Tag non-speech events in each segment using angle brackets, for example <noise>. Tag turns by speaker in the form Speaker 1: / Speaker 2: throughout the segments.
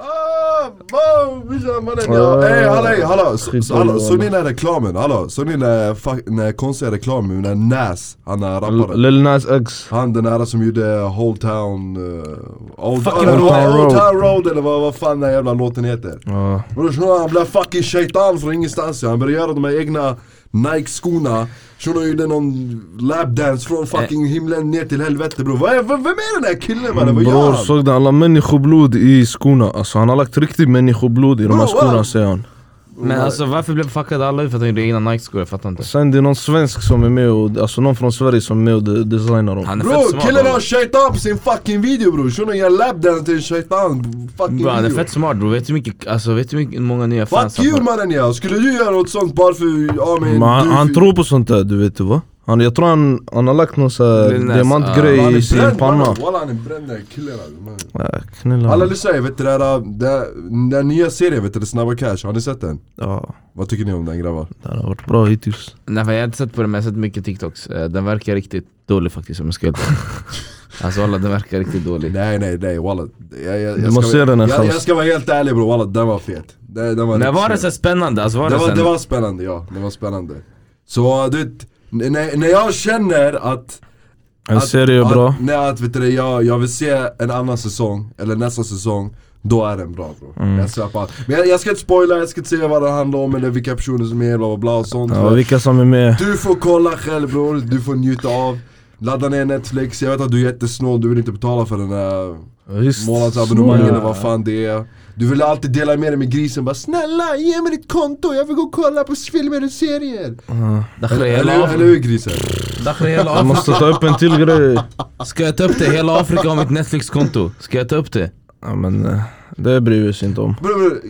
Speaker 1: Ah, brorsan mannen jag...
Speaker 2: Ah,
Speaker 1: Ey Eh, hallå, hallå, s-
Speaker 2: skit
Speaker 1: s- hallå,
Speaker 2: i
Speaker 1: såg ni den här reklamen? Hallå, såg ni den här fa- den här konstiga reklamen med den här Nas, han är rapparen?
Speaker 2: Lil Nas X
Speaker 1: Han den här som gjorde eh, Whole Town... Uh, old,
Speaker 2: Fucking
Speaker 1: eller,
Speaker 2: Old Town
Speaker 1: Old
Speaker 2: Road.
Speaker 1: Town Road eller vad, vad fan den här jävla låten heter
Speaker 2: Ja.
Speaker 1: Bror shunon han blev fucking shaitan från ingenstans ja. Han började göra de här egna Nike-skorna Shunon gjorde någon lapdance från fucking
Speaker 2: Eh.
Speaker 1: himlen ner till helvete bror Vad är- v- Vem är den här killen mannen? Vad gör
Speaker 2: Bror
Speaker 1: han?
Speaker 2: såg du alla människoblod i skorna? Alltså han har lagt riktigt människoblod i de
Speaker 1: Bro,
Speaker 2: här
Speaker 1: wow.
Speaker 2: skorna säger han
Speaker 3: Men alltså varför blev fuckade alla ut för att han gjorde egna Nike-skor? Jag fattar inte.
Speaker 2: Sen det är någon svensk som är med och, alltså någon från Sverige som är med och de- designar dem
Speaker 3: Han är fett
Speaker 1: Bror
Speaker 3: smart.
Speaker 1: killen
Speaker 3: bro.
Speaker 1: har shaitan på sin fucking video bror Shunon gör lapdance till shaitan fucking
Speaker 3: Bro, han är
Speaker 1: video
Speaker 3: fett smart bro, vet du hur mycket, alltså, vet du hur mycket, många nya fans
Speaker 1: Fuck you mannen ja, skulle du göra något sånt bara för, ja men
Speaker 2: Men han,
Speaker 1: du
Speaker 2: han tror på sånt där du vet va? Han, jag tror han, han har lagt någon sån
Speaker 3: Lil Nas,
Speaker 2: här
Speaker 3: ah.
Speaker 1: Han
Speaker 2: diamantgrej
Speaker 1: är
Speaker 2: i sin
Speaker 1: bränd,
Speaker 2: panna
Speaker 1: mannen. Walla han är bränd den här killen alltså, mannen.
Speaker 2: Ja, Knulla
Speaker 1: Alla lyssnar ju, vet du det där, det- den där nya serien vet du, det Snabba Cash, har ni sett den?
Speaker 2: Ja,
Speaker 1: Vad tycker ni om den grabbar?
Speaker 2: det har varit bra hittills
Speaker 3: Nej fan, jag har inte sett på den men jag har sett mycket TikToks. Eh, Den verkar riktigt dålig faktiskt om jag ska vara helt
Speaker 1: <laughs>
Speaker 3: ärlig. Alltså alla den verkar riktigt dålig.
Speaker 1: Nej nej nej walla, jag, jag, jag,
Speaker 2: Du
Speaker 1: ska,
Speaker 2: måste
Speaker 1: vara-
Speaker 2: se den här
Speaker 1: jag,
Speaker 2: chans.
Speaker 1: jag ska vara helt ärlig bror, walla den var fet Den, den var
Speaker 3: Men
Speaker 1: riktigt
Speaker 3: var det
Speaker 1: fet.
Speaker 3: så spännande? Alltså var
Speaker 1: det,
Speaker 3: det,
Speaker 1: var,
Speaker 3: sen,
Speaker 1: det var spännande ja, det var spännande Så du vet, när, när jag känner att
Speaker 2: En
Speaker 1: att-
Speaker 2: serie är
Speaker 1: att-
Speaker 2: bra
Speaker 1: Nej att vet du det, jag, jag vill se en annan säsong, eller nästa säsong Då är den bra bro.
Speaker 2: Mm.
Speaker 1: Jag svär på allt. Men jag, jag ska inte spoila, jag ska inte säga vad den handlar om eller vilka personer som är bla bla bla och sånt
Speaker 2: ja,
Speaker 1: Men
Speaker 2: Vilka som är med
Speaker 1: Du får kolla själv bror, du får njuta av Ladda ner Netflix, jag vet att du är jättesnål, du vill inte betala för den här
Speaker 2: Visst,
Speaker 1: månadsabonnemangen
Speaker 2: snälla.
Speaker 1: eller vad fan det är Du vill alltid dela med dig med grisen, bara snälla ge mig ditt konto, jag vill gå och kolla på filmer och serier
Speaker 3: Dakhra,
Speaker 1: Eller,
Speaker 3: hela,
Speaker 1: eller, eller
Speaker 3: Afrika-
Speaker 1: hur grisen?
Speaker 3: Dakhra, hela
Speaker 2: Jag
Speaker 3: Afrika.
Speaker 2: måste ta upp en till grej
Speaker 3: Ska jag ta upp det? Hela Afrika har mitt Netflix-konto. Ska jag ta upp det?
Speaker 2: ja, men, eh, Det bryr vi oss inte om
Speaker 1: Bror, bror,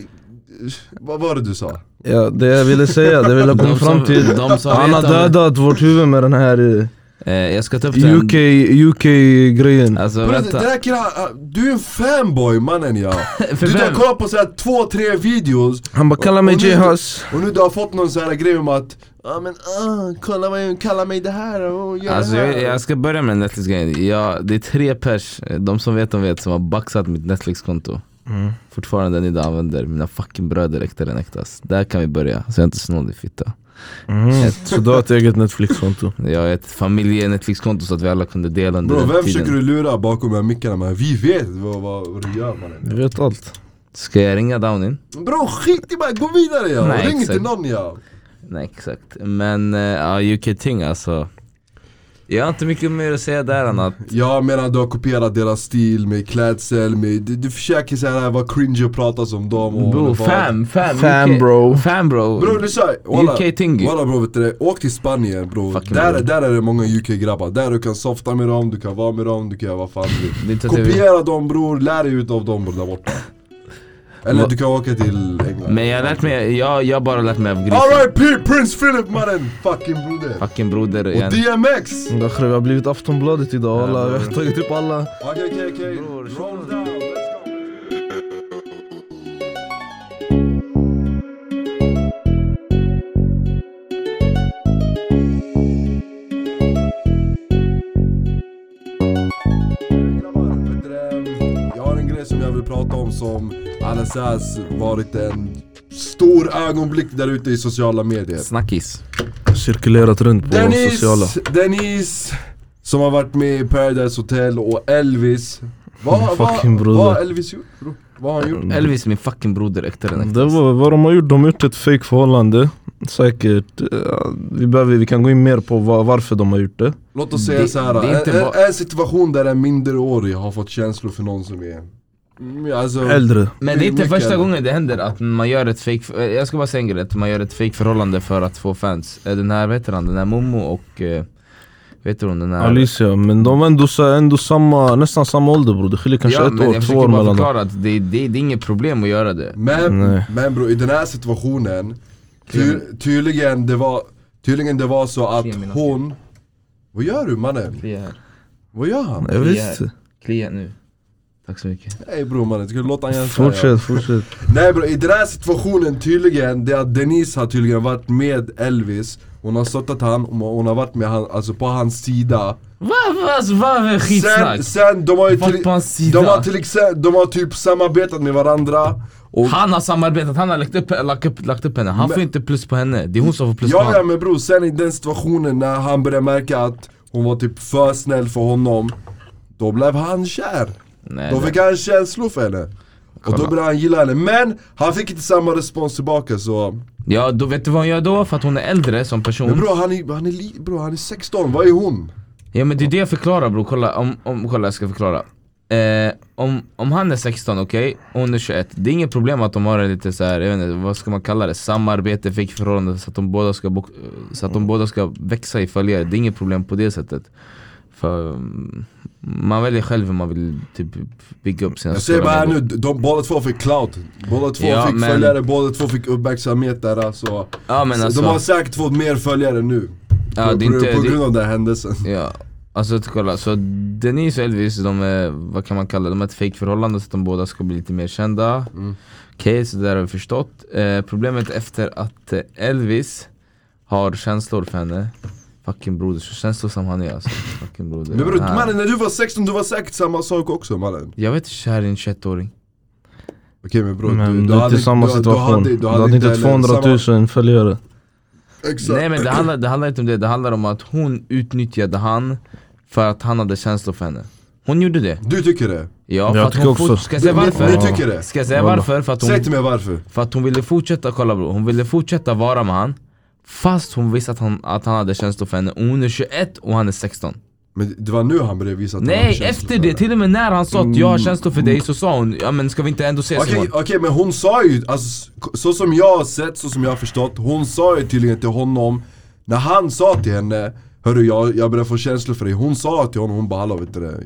Speaker 1: vad var det du sa?
Speaker 2: ja, Det jag ville säga, det jag
Speaker 3: <laughs>
Speaker 2: ville komma
Speaker 3: De som-
Speaker 2: fram till
Speaker 3: de som
Speaker 2: Han har
Speaker 3: vet om det.
Speaker 2: dödat vårt huvud med den här eh,
Speaker 3: Eh, jag ska ta upp den.
Speaker 2: UK, UK-grejen
Speaker 3: Alltså
Speaker 1: Bror, den
Speaker 3: vänta.
Speaker 1: där killen, han- du är en fanboy mannen ja
Speaker 3: <laughs> För
Speaker 1: Du tar
Speaker 3: vem?
Speaker 1: koll på såhär två, tre videos
Speaker 2: Han bara kallar mig
Speaker 1: Och nu-
Speaker 2: J-Hus
Speaker 1: Och nu du har fått någon sån här grej om att Ja men ah, kolla vad jag kallar mig det här och gör
Speaker 3: Alltså
Speaker 1: det här
Speaker 3: jag, jag ska börja med Netflix-grejen. Jag, det är tre pers, eh, de som vet de vet, som har baxat mitt Netflix-konto.
Speaker 1: Mm.
Speaker 3: Fortfarande än idag använder mina fucking bröder äkta den äktas. Där kan vi börja, så jag är inte snål i fitta.
Speaker 2: mm. Så du har ett eget Netflix-konto
Speaker 3: Jag har ett familje-Netflix-konto så att vi alla kunde dela under
Speaker 1: Bro,
Speaker 3: den
Speaker 1: vem
Speaker 3: tiden.
Speaker 1: försöker du lura bakom de här mickarna man? Vi vet vad, vad, vad du gör mannen
Speaker 2: Du vet allt
Speaker 3: Ska jag ringa Downin?
Speaker 1: Bro skit i bara, gå vidare ja!
Speaker 3: Nej,
Speaker 1: Ring
Speaker 3: exakt.
Speaker 1: till någon ja!
Speaker 3: Nej exakt, men eh, ja UK-ting alltså. Jag har inte mycket mer att säga där än att
Speaker 1: Jag menar du har kopierat deras stil med klädsel, med, du, du försöker så här vara cringe och prata som dem och
Speaker 3: Bro,
Speaker 1: och-
Speaker 3: fam, fam,
Speaker 2: Fam,
Speaker 3: UK
Speaker 2: bro.
Speaker 3: Fam bro.
Speaker 1: Bro lyssna, walla,
Speaker 3: UK Tingy.
Speaker 1: walla bro vet du det, åk till Spanien bro,
Speaker 3: Fucking
Speaker 1: där,
Speaker 3: bro.
Speaker 1: där är det många UK-grabbar, där du kan softa med dem, du kan vara med dem, du kan göra vad fan
Speaker 3: <laughs>
Speaker 1: du vill
Speaker 3: Det är inte att jag vill-
Speaker 1: Kopiera dem bror, lär dig utav dem bror där borta Eller du kan åka till England
Speaker 3: Men jag har lärt mig, jag, jag har bara lärt mig av grisen.
Speaker 1: R.I.P. Prince Philip mannen, fucking broder!
Speaker 3: Fucking broder.
Speaker 1: Och
Speaker 3: jag-
Speaker 1: DMX!
Speaker 2: Dakhri, vi har blivit Aftonbladet idag alla, vi har tagit upp alla
Speaker 1: Okej okej okej,
Speaker 3: Bror,
Speaker 1: roll down, let's go! Grabbar, vet du det? Jag har en grej som jag vill prata om som LSS varit en stor ögonblick där ute i sociala medier.
Speaker 3: Snackis.
Speaker 2: Cirkulerat runt på
Speaker 1: Dennis,
Speaker 2: sociala
Speaker 1: Dennis som har varit med i Paradise Hotel och Elvis. Vad
Speaker 2: Mm,
Speaker 1: vad-
Speaker 2: fucking
Speaker 1: vad har
Speaker 2: broder.
Speaker 1: Elvis gjort? bro? Vad har han gjort?
Speaker 3: Elvis min fucking broder äkta den äkta.
Speaker 2: Det var vad de har gjort, de har gjort ett fake förhållande Säkert, Eh, vi, behöver, vi kan gå in mer på va- varför de har gjort det
Speaker 1: Låt oss säga
Speaker 3: Det-
Speaker 1: så här.
Speaker 3: det är inte
Speaker 1: en,
Speaker 3: bara-
Speaker 1: en situation där en minderårig har fått känslor för någon som är... Mm, Alltså,
Speaker 2: Äldre
Speaker 3: Men det är inte
Speaker 1: mycket
Speaker 3: första
Speaker 1: äldre.
Speaker 3: gången det händer att man gör ett fake eh, Jag ska bara säga en grej, att man gör ett fake förhållande för att få fans. Eh, Den här, vad heter han, den här Momo och... eh, Vet du hon den här?
Speaker 2: Alicia, men de var ändå, så- ändå samma, nästan samma ålder bror, det skiljer kanske ett
Speaker 3: men
Speaker 2: år,
Speaker 3: jag
Speaker 2: två
Speaker 3: försöker
Speaker 2: år
Speaker 3: bara
Speaker 2: mellan dem
Speaker 3: förklara att det, det, det är inget problem att göra det.
Speaker 1: Men,
Speaker 2: Nej.
Speaker 1: men bro, i den här situationen ty, tydligen, det var, tydligen det var så att
Speaker 3: Klemina.
Speaker 1: hon... Vad gör du mannen?
Speaker 3: Klia här.
Speaker 1: Vad gör han?
Speaker 2: Jag visste
Speaker 3: Klia nu. Tack så mycket.
Speaker 1: Ey bror mannen, ska du låta han igen säga?
Speaker 2: Fortsätt, fortsätt.
Speaker 1: Nej bror, i den här situationen tydligen, det är att Denise har tydligen varit med Elvis Hon har stöttat han, och hon har varit med han, alltså på hans sida
Speaker 3: Vad va, alltså, vad är skitsnack?
Speaker 1: Sen, sen de har ju
Speaker 3: Vart
Speaker 1: till,
Speaker 3: på hans sida?
Speaker 1: de har till exempel, de har typ samarbetat med varandra och
Speaker 3: Han har samarbetat, han har lagt upp, lagt upp, lagt upp henne. Han får inte plus på henne. Det är hon som får plus på
Speaker 1: Ja, ja
Speaker 3: honom.
Speaker 1: men bror, sen i den situationen när han började märka att hon var typ för snäll för honom Då blev han kär,
Speaker 3: Nej,
Speaker 1: då
Speaker 3: nej.
Speaker 1: fick han känslor för henne Och då
Speaker 3: Kolla.
Speaker 1: började han gilla henne, men han fick inte samma respons tillbaka så
Speaker 3: ja, då vet du vad hon gör då? För att hon är äldre som person.
Speaker 1: Men bror han är, han är, li- bror, han är 16, vad är hon?
Speaker 3: Ja men det är det jag förklarar bror, kolla, om, om, kolla jag ska förklara eh, om, om han är 16, okej, och hon är 21 Det är inget problem att de har en lite så här, jag vet inte, vad ska man kalla det? Samarbete, fake förhållande så att de båda ska, bok- så att de båda ska växa i följare Det är inget problem på det sättet För mm, man väljer själv hur man vill typ bygga upp sina
Speaker 1: Jag säger bara
Speaker 3: stora
Speaker 1: här nu,
Speaker 3: vänner.
Speaker 1: de, båda två fick clout Båda två
Speaker 3: Ja,
Speaker 1: fick
Speaker 3: men-
Speaker 1: följare, båda två fick uppmärksamhet där alltså.
Speaker 3: Ja men
Speaker 1: Så
Speaker 3: alltså,
Speaker 1: De har säkert fått mer följare nu
Speaker 3: Ja,
Speaker 1: på,
Speaker 3: det är
Speaker 1: på-
Speaker 3: inte-
Speaker 1: på
Speaker 3: det-
Speaker 1: grund av den här händelsen
Speaker 3: Ja, alltså att kolla, så Denise och Elvis, de är, vad kan man kalla det, de har ett fejkförhållande så att de båda ska bli lite mer kända
Speaker 1: Mm.
Speaker 3: Okej, så där har vi förstått eh, Problemet efter att eh, Elvis har känslor för henne Fucking broder, så känslosam han är alltså Fucking broder
Speaker 1: Men bror
Speaker 3: Han-
Speaker 1: mannen, när du var 16 du var säkert samma sak också mannen
Speaker 3: Jag vet inte kär i en 21-åring
Speaker 1: Okej men bror,
Speaker 2: Men
Speaker 1: du,
Speaker 2: du
Speaker 1: du
Speaker 2: är inte i samma situation. Du hade inte
Speaker 1: heller
Speaker 2: 200 000 följare.
Speaker 1: samma- Exakt. <clears throat>
Speaker 3: Nej men det handlar, det handlar inte om det, det handlar om att hon utnyttjade han för att han hade känslor för henne Hon gjorde det,
Speaker 1: Du tycker det?
Speaker 3: ja för
Speaker 2: Jag
Speaker 3: att
Speaker 2: tycker
Speaker 3: hon
Speaker 2: också.
Speaker 3: fort- Ska jag säga
Speaker 1: Du-
Speaker 3: varför?
Speaker 1: Du tycker det?
Speaker 3: Ska jag säga
Speaker 2: Kolla.
Speaker 3: varför? För att hon
Speaker 1: Säg till mig varför.
Speaker 3: För att hon ville fortsätta, kolla bro, hon ville fortsätta vara med han Fast hon visste att han, att han hade känslor för henne och hon är 21 och han är 16
Speaker 1: Men det var nu han började visa att han hade
Speaker 3: Nej
Speaker 1: känslor
Speaker 3: efter
Speaker 1: för
Speaker 3: det,
Speaker 1: henne. Mm.
Speaker 3: till och med när han sa att jag har känslor för dig så sa hon Ja men ska vi inte ändå ses
Speaker 1: Okej,
Speaker 3: imorgon?
Speaker 1: okej men hon sa ju, alltså, så som jag har sett, så som jag har förstått, hon sa ju tydligen till honom När han sa till henne, hörru jag, jag börjar få känslor för dig, hon sa till honom, hon bara hallå vet du det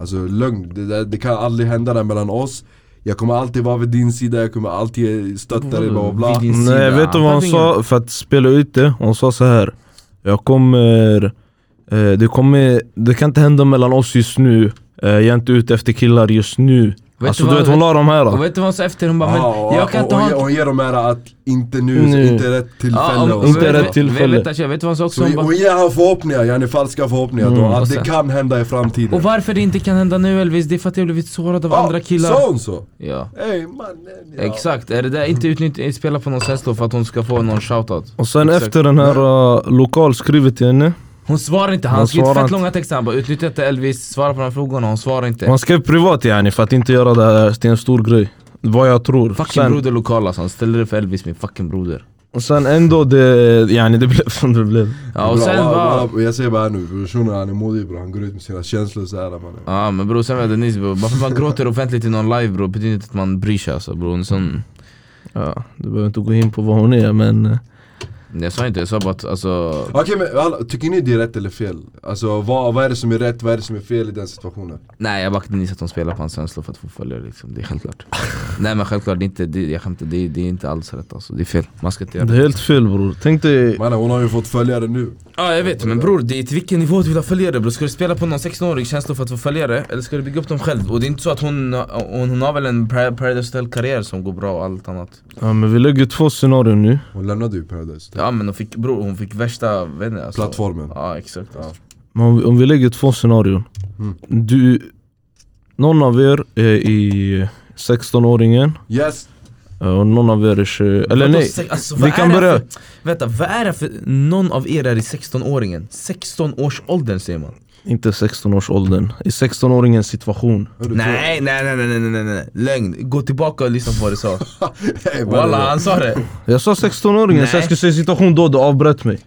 Speaker 1: Alltså lögn, det, där- det kan aldrig hända där mellan oss Jag kommer alltid vara vid din sida, jag kommer alltid stötta dig bla bla bla
Speaker 3: Vid din sida.
Speaker 2: Nej, vet du vad hon
Speaker 3: Han fattar
Speaker 2: sa för att spela ut det? Hon sa så här. Jag kommer... eh, Det kommer... Det kan inte hända mellan oss just nu. Eh, Jag är inte ute efter killar just nu.
Speaker 3: du
Speaker 2: alltså du
Speaker 3: vad-
Speaker 2: vet, hon la de här.
Speaker 3: Och vet du vad hon sa efter? Hon bara men
Speaker 1: Ja, och,
Speaker 3: jag kan inte
Speaker 1: och,
Speaker 3: ha
Speaker 1: och, ge- och ge dem här att inte nu,
Speaker 2: Nu.
Speaker 1: inte rätt tillfälle
Speaker 3: Ja, om-
Speaker 1: och så.
Speaker 2: Inte
Speaker 3: vet-
Speaker 2: rätt
Speaker 3: vet-
Speaker 2: tillfälle.
Speaker 3: Vet, vet, vet du vad hon sa också?
Speaker 1: Så
Speaker 3: Hon
Speaker 1: ge-
Speaker 3: bara,
Speaker 1: och ge han förhoppningar, yani falska förhoppningar då,
Speaker 3: Mm, Och
Speaker 1: att
Speaker 3: sen-
Speaker 1: det kan hända i framtiden
Speaker 3: och varför det inte kan hända nu Elvis, det är för att jag blivit sårad av
Speaker 1: Ja,
Speaker 3: andra killar
Speaker 1: Sa hon så?
Speaker 3: Ja.
Speaker 1: Ey mannen ja.
Speaker 3: Exakt, är det där inte utnyttja, spela på någon känslor för att hon ska få någon shoutout?
Speaker 2: Och sen
Speaker 3: Exakt.
Speaker 2: efter den här uh, lokal skrivit till henne.
Speaker 3: Hon svarar inte, han
Speaker 2: Hon
Speaker 3: skriver
Speaker 2: svarar
Speaker 3: fett
Speaker 2: inte.
Speaker 3: långa texter, han bara utnyttja inte Elvis, svara på de här frågorna, hon svarar inte
Speaker 2: Man skrev privat yani för att inte göra det här till en stor grej. Vad jag tror.
Speaker 3: Fucking broder lokal alltså, han ställer det för Elvis min fucking broder
Speaker 2: och sen ändå det... Yani det blev som det blev.
Speaker 3: Ja och
Speaker 1: Bra,
Speaker 3: sen
Speaker 1: bra,
Speaker 3: bara
Speaker 1: bra. Jag säger bara här nu, personen han är modig bror, han går ut med sina känslor såhär mannen
Speaker 3: Ja men bror sen var det Denise bror, bara för att man gråter offentligt i någon live bror betyder inte att man bryr sig alltså bror En sån-
Speaker 2: Ja, du behöver inte gå in på vad hon är men... eh,
Speaker 3: Jag sa inte, jag sa bara att alltså
Speaker 1: Okej men alla, tycker ni det är rätt eller fel? Alltså vad, vad är det som är rätt, vad är det som är fel i den situationen?
Speaker 3: Nej jag backade Denise att hon spelar på hans känslor för att få följare liksom, det är självklart Nej men självklart, det är inte, det, jag skämtar, det, är- det är inte alls rätt alltså, det är fel, man ska inte göra
Speaker 2: Det är helt fel bror. Tänk dig...
Speaker 1: Mannen hon har ju fått följare nu
Speaker 3: Ja jag vet, men bror det är till vilken nivå du vill ha följare bror Ska du spela på någon 16-årig känsla för att få följare? Eller ska du bygga upp dem själv? Och det är inte så att hon, hon, hon har väl en Par- Paradise Hotel-karriär som går bra och allt annat
Speaker 2: Ja men vi lägger två scenarion nu.
Speaker 1: Hon lämnade ju Paradise
Speaker 3: Ja men hon fick, bror hon fick värsta, vet inte, alltså.
Speaker 1: Plattformen
Speaker 3: Ja exakt ja.
Speaker 2: Men om, vi- om vi lägger två scenarion.
Speaker 1: Mm.
Speaker 2: Du... Någon av er är i 16-åringen
Speaker 1: Yes!
Speaker 2: eh, och någon av er är 20... Eller
Speaker 3: Vadå,
Speaker 2: nej.
Speaker 3: se- alltså,
Speaker 2: vi
Speaker 3: vad
Speaker 2: kan
Speaker 3: är det
Speaker 2: börja-
Speaker 3: För, vänta, vad är det för, någon av er är i 16-åringen? 16 års åldern säger man
Speaker 2: Inte 16-årsåldern. I 16-åringens situation.
Speaker 1: Hörru, <laughs>
Speaker 3: Nej nej nej nej nej nej nej Lögn, gå tillbaka och lyssna på vad du sa
Speaker 1: så- Ey, mannen.
Speaker 3: Walla han sa det
Speaker 2: Jag sa 16-åringen, så
Speaker 3: Nej.
Speaker 2: jag skulle säga situation då, du avbröt mig.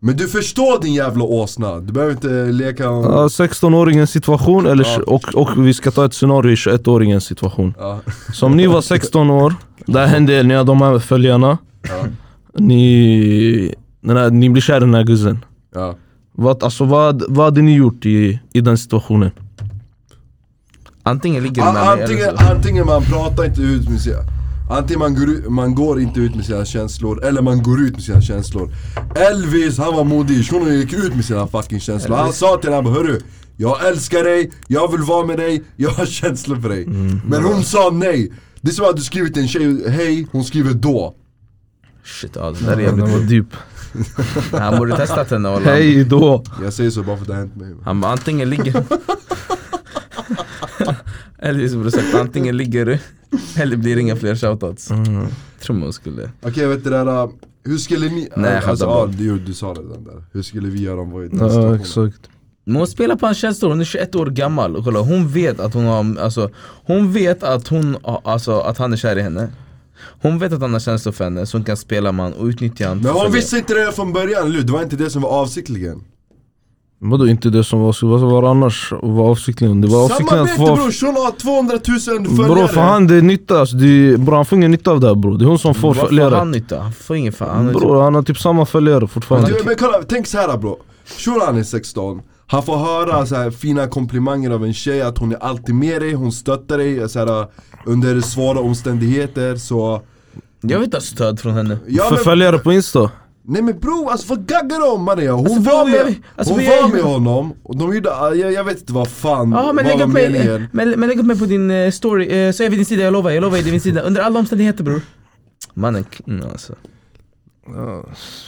Speaker 1: Men du förstår din jävla åsna, du behöver inte leka om...
Speaker 2: Ja, 16-åringens situation eller, och, och vi ska ta ett scenario i 21-åringens situation.
Speaker 1: Ja.
Speaker 2: Så om ni var 16 år, där hände er, ni har de här följarna.
Speaker 1: Ja.
Speaker 2: Ni, den här, ni blir kär i den här guzzen.
Speaker 1: Ja.
Speaker 2: Vad, alltså, vad, vad hade ni gjort i, i den situationen?
Speaker 3: Antingen ligger du med
Speaker 1: A-
Speaker 3: mig eller
Speaker 1: Antingen,
Speaker 3: så
Speaker 1: antingen man pratar inte ut med sina... Antingen man går, ut- man går inte ut med sina känslor, eller man går ut med sina känslor Elvis, han var modig, shunon gick ut med sina fucking känslor Han sa till henne, han bara, hörru Jag älskar dig, jag vill vara med dig, jag har känslor för dig.
Speaker 3: Mm.
Speaker 1: Men hon sa nej. Det är som att du skriver till en tjej, hej, hon skriver då.
Speaker 3: Shit, ja, det där är
Speaker 2: Den
Speaker 3: jävligt
Speaker 2: var
Speaker 3: sjukt.
Speaker 2: djup.
Speaker 3: Han borde testat henne och
Speaker 2: Hej då!
Speaker 1: Jag säger så bara för att det har hänt mig.
Speaker 3: Han bara antingen ligger <laughs> Elvis bror sagt antingen ligger du eller blir det inga fler shoutouts. Tror man hon skulle.
Speaker 1: Okej, vet du det där, äh, hur skulle ni...
Speaker 3: Nej, jag
Speaker 1: alltså,
Speaker 3: skämtar
Speaker 1: ja,
Speaker 3: bara.
Speaker 1: du, du sa det den där. Hur skulle vi göra om vi var i den
Speaker 2: Ja,
Speaker 1: situationen?
Speaker 2: exakt.
Speaker 3: Men hon spelar på hans känslor, hon är 21 år gammal och kolla hon vet att hon har, alltså hon vet att hon, har- alltså att han är kär i henne. Hon vet att han har känslor för henne så hon kan spela man och utnyttja honom.
Speaker 1: Men
Speaker 3: för
Speaker 1: hon
Speaker 3: det.
Speaker 1: visste inte det från början, eller hur? Det var inte det som var avsiktligen.
Speaker 2: Vadå inte det som var, så vad var det annars? Och Vad avsiktligen? Det var avsiktligen att
Speaker 1: Samarbete
Speaker 2: få...
Speaker 1: bror, hon har 200 000 följare!
Speaker 2: Bror för han det är nytta alltså, det är, bror han får ingen nytta av det här bror. Det är hon som får
Speaker 3: Vad får han
Speaker 2: följare.
Speaker 3: nytta? Han får ingen fan. Han har
Speaker 2: Bror han har typ samma följare fortfarande.
Speaker 1: Du, men kolla, tänk så här bro. Shuran är 16, han får höra så här fina komplimanger av en tjej att hon är alltid med dig, hon stöttar dig så här, under svåra omständigheter så...
Speaker 3: Jag vill inte ha stöd från henne.
Speaker 1: Ja,
Speaker 2: För
Speaker 1: men,
Speaker 2: följare på insta.
Speaker 1: nej men bro, alltså vad gaggar du om mannen? Hon
Speaker 3: Alltså,
Speaker 1: var
Speaker 3: bro, jag
Speaker 1: med,
Speaker 3: vet- alltså,
Speaker 1: hon
Speaker 3: vi är
Speaker 1: var
Speaker 3: ju-
Speaker 1: med honom, och de gjorde, jag, jag vet inte vad fan,
Speaker 3: Ja men
Speaker 1: vad
Speaker 3: lägg
Speaker 1: var
Speaker 3: upp mig,
Speaker 1: meningen?
Speaker 3: men, men lägg upp mig på din eh, story, eh, så är jag vid din sida, jag lovar, jag lovar jag är vid din sida under alla omständigheter bror Mannen, k- mm, alltså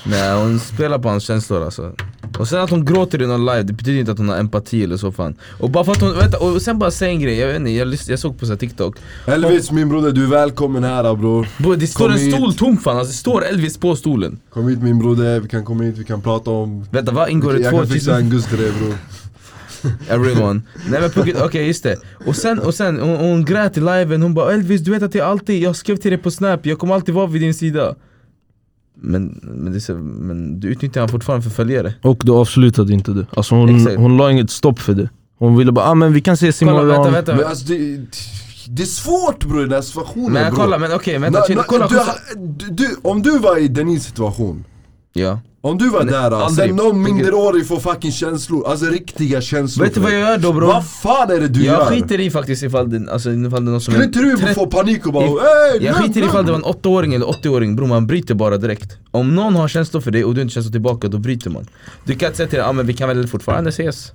Speaker 3: Nej hon spelar på hans känslor alltså Och sen att hon gråter i någon live, det betyder inte att hon har empati eller så fan Och bara för att hon, vänta, och sen bara säg en grej, jag vet inte, jag, lys- jag såg på så här TikTok
Speaker 1: Elvis min broder, du är välkommen här bror.
Speaker 3: Bro, Det står
Speaker 1: Kom
Speaker 3: en
Speaker 1: hit.
Speaker 3: stol tom fan, alltså det står Elvis på stolen
Speaker 1: Kom hit min broder, vi kan komma hit, vi kan prata om...
Speaker 3: Vänta vad ingår det?
Speaker 1: Jag
Speaker 3: Två
Speaker 1: kan fixa en guzz till dig bror.
Speaker 3: Everyone. Nej men på gud, okej just det. Och sen, och sen hon, hon grät i liven, hon bara Elvis du vet att jag alltid, jag skrev till dig på snap, jag kommer alltid vara vid din sida. Men, men, det är så, men du utnyttjar han fortfarande för följare.
Speaker 2: Och du avslutade inte det. Alltså hon,
Speaker 3: Exakt.
Speaker 2: hon la inget stopp för det. Hon ville bara ah, men vi kan ses
Speaker 3: Kolla
Speaker 2: imorgon.
Speaker 3: vänta vänta.
Speaker 1: Men
Speaker 3: Men,
Speaker 1: alltså det, det är svårt bror den här situationen bror.
Speaker 3: kolla men okej
Speaker 1: Nå-
Speaker 3: vänta, chill,
Speaker 1: nå-
Speaker 3: kolla,
Speaker 1: du,
Speaker 3: kolla.
Speaker 1: du, du, om du var i Denise situation,
Speaker 3: Ja.
Speaker 1: om du var där alltså,
Speaker 3: aldrig.
Speaker 1: sen någon minderårig får fucking känslor, alltså riktiga känslor
Speaker 3: Vet du
Speaker 1: för
Speaker 3: vad
Speaker 1: dig.
Speaker 3: jag gör då bror?
Speaker 1: Vad fan är det du
Speaker 3: Jag
Speaker 1: gör?
Speaker 3: skiter i faktiskt ifall det, alltså, ifall det är någon som
Speaker 1: Skulle inte du
Speaker 3: trett-
Speaker 1: få panik och bara
Speaker 3: I-
Speaker 1: "Ey,
Speaker 3: Jag
Speaker 1: nej,
Speaker 3: skiter i
Speaker 1: nej."
Speaker 3: ifall det var en 8-åring eller 80-åring bror, man bryter bara direkt Om någon har känslor för dig och du inte känslor tillbaka, då bryter man Du kan inte säga till den, ah, men vi kan väl fortfarande ses?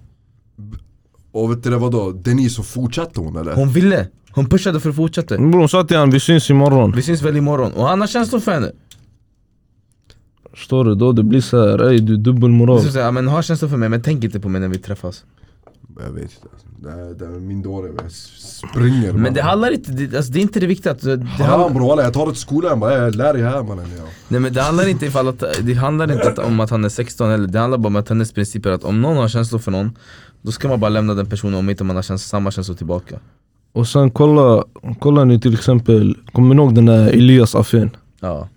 Speaker 1: Och vet du det vadå, Denise så fortsatte hon eller?
Speaker 3: Hon ville, hon pushade för att fortsätta
Speaker 2: Bror hon sa till honom vi syns imorgon.
Speaker 3: Vi syns väl imorgon, och han har känslor för henne
Speaker 2: Förstår du? Då det blir såhär, ey du är dubbelmoral.
Speaker 3: Så säger jag, men ha känslor för mig men tänk inte på mig när vi träffas
Speaker 1: Jag vet inte, alltså. det här, det här är min dåre, jag springer
Speaker 3: Men det handlar inte, det, alltså, det är inte det viktiga att, det
Speaker 1: Haram
Speaker 3: handlar,
Speaker 1: bror walla, jag tar det till skolan bara "Ey, lär dig här mannen ja.
Speaker 3: Nej men det handlar inte ifall att, det handlar inte att, om att han är 16 eller det handlar bara om att hennes princip är att om någon har känslor för någon Då ska man bara lämna den personen om inte man har käns samma känslor tillbaka
Speaker 2: Och sen kolla, kolla ni till exempel, kommer ni ihåg den där Elias affären?
Speaker 3: Ja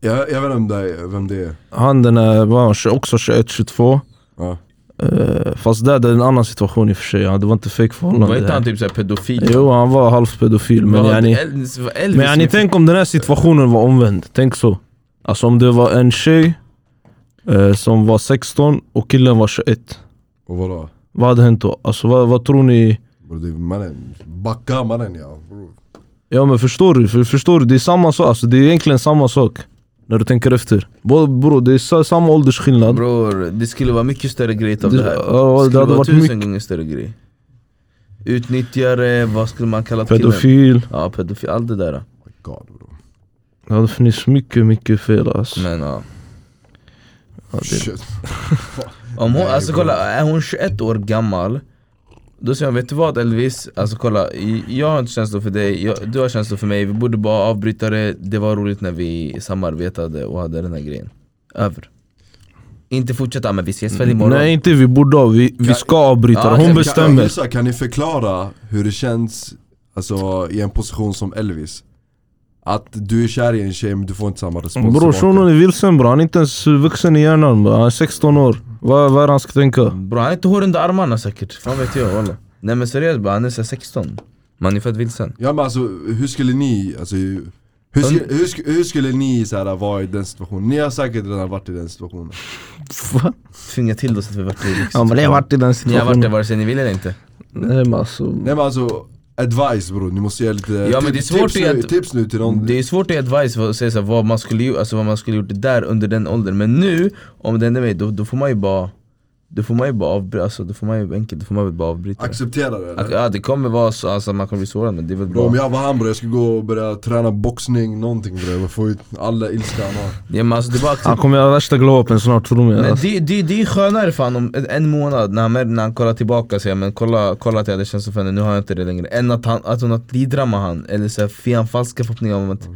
Speaker 1: jag, jag vet inte om det är, vem det är
Speaker 2: Han den där var han tjo- också 21-22
Speaker 1: ja.
Speaker 2: Eh, Fast där det är en annan situation i och för sig, ja, det var inte
Speaker 3: Var
Speaker 2: fejkförhållande
Speaker 3: inte han
Speaker 2: här.
Speaker 3: typ såhär pedofil?
Speaker 2: Jo han var halvpedofil men
Speaker 3: Vad-
Speaker 2: yani
Speaker 3: Elvis, vad Elvis
Speaker 2: Men yani tänk om den här situationen var omvänd, tänk så Alltså om det var en tjej eh, som var 16 och killen var 21
Speaker 1: Och vadå?
Speaker 2: Vad hade hänt då? Alltså vad, vad tror ni?
Speaker 1: Bror det är mannen, backa mannen ja Oh bror.
Speaker 2: Ja men förstår du? För, förstår du? Det är samma sak, alltså det är egentligen samma sak När du tänker efter Bro, bro det är sa- samma åldersskillnad
Speaker 3: Bror, det skulle vara mycket större grej utav
Speaker 2: Det-
Speaker 3: det här.
Speaker 2: ja, det
Speaker 3: Det skulle
Speaker 2: hade
Speaker 3: vara
Speaker 2: varit
Speaker 3: tusen
Speaker 2: mycket-
Speaker 3: gånger större grej. Utnyttjare, vad skulle man kalla killen?
Speaker 2: Pedofil
Speaker 3: Ja, pedofil, allt det där.
Speaker 1: My God bror
Speaker 2: Det hade funnits mycket, mycket fel alltså.
Speaker 3: Men ja.
Speaker 2: Ja, det-
Speaker 1: Shit.
Speaker 3: Om hon,
Speaker 1: Nej,
Speaker 3: alltså
Speaker 1: bro.
Speaker 3: kolla, är hon 21 år gammal då säger jag, vet du vad Elvis? Alltså kolla, i- jag har inte känslor för dig, jag, du har känslor för mig, vi borde bara avbryta det, det var roligt när vi samarbetade och hade den här grejen. Över. Inte fortsätta, men vi ses väl imorgon?
Speaker 2: Nej inte vi borde, ha, vi, vi ska avbryta
Speaker 3: Ja,
Speaker 2: det. Hon
Speaker 3: kan-
Speaker 1: Kan,
Speaker 2: bestämmer.
Speaker 1: Lisa, kan ni förklara hur det känns alltså, i en position som Elvis? Att du är kär i en tjej men du får inte samma respons
Speaker 2: Bror
Speaker 1: tillbaka.
Speaker 2: shunon är vilsen bror, han är inte ens vuxen i hjärnan bror. Han är 16 år. Vad, vad är det han ska tänka?
Speaker 3: Bro, han är inte hår under armarna säkert, fan vet jag walla Nej men seriöst bara, han är så här 16 Man är fett vilsen
Speaker 1: Ja men alltså hur skulle ni, alltså, hur, sk- hur, sk- hur skulle ni så här, vara i den situationen? Ni har säkert redan varit i den situationen
Speaker 3: Tvinga till oss att vi vart i liksom-
Speaker 2: Ja, men det har varit i den
Speaker 3: Ni har varit det
Speaker 2: situationen.
Speaker 3: vare sig ni vill eller inte
Speaker 2: Nej men alltså.
Speaker 1: Nej men alltså, advice bror, ni måste ge lite
Speaker 3: Ja, men det är
Speaker 1: tips,
Speaker 3: svårt
Speaker 1: tips, nu,
Speaker 3: att-
Speaker 1: tips nu till någon
Speaker 3: Det är svårt att ge advice och säga så här, vad man skulle gjort, alltså vad man skulle gjort där under den åldern Men nu, om det hände mig, då, då får man ju bara Det får man ju bara avbryta, alltså, det får man ju enkelt, det får man väl bara avbryta det.
Speaker 1: Acceptera det
Speaker 3: Att,
Speaker 1: eller?
Speaker 3: ja det kommer vara så, alltså man kommer bli sårad men det är väl
Speaker 1: Bro, om
Speaker 3: bra
Speaker 1: jag var han bro, jag skulle gå och börja träna boxning, någonting bre. Få ut alla ilska han har.
Speaker 3: ja, men alltså, det, är bara
Speaker 2: Han
Speaker 3: accept-
Speaker 2: kommer göra värsta glow-upen snart tror mig
Speaker 3: men
Speaker 2: alltså.
Speaker 3: det, det, det är skönare fan om en- en månad när han, mär- när han kollar tillbaka säger men kolla, kolla att jag hade känslor för henne, nu har jag inte det längre Än att, han, att hon har lidra med han, eller så här, fian falska förhoppningar om att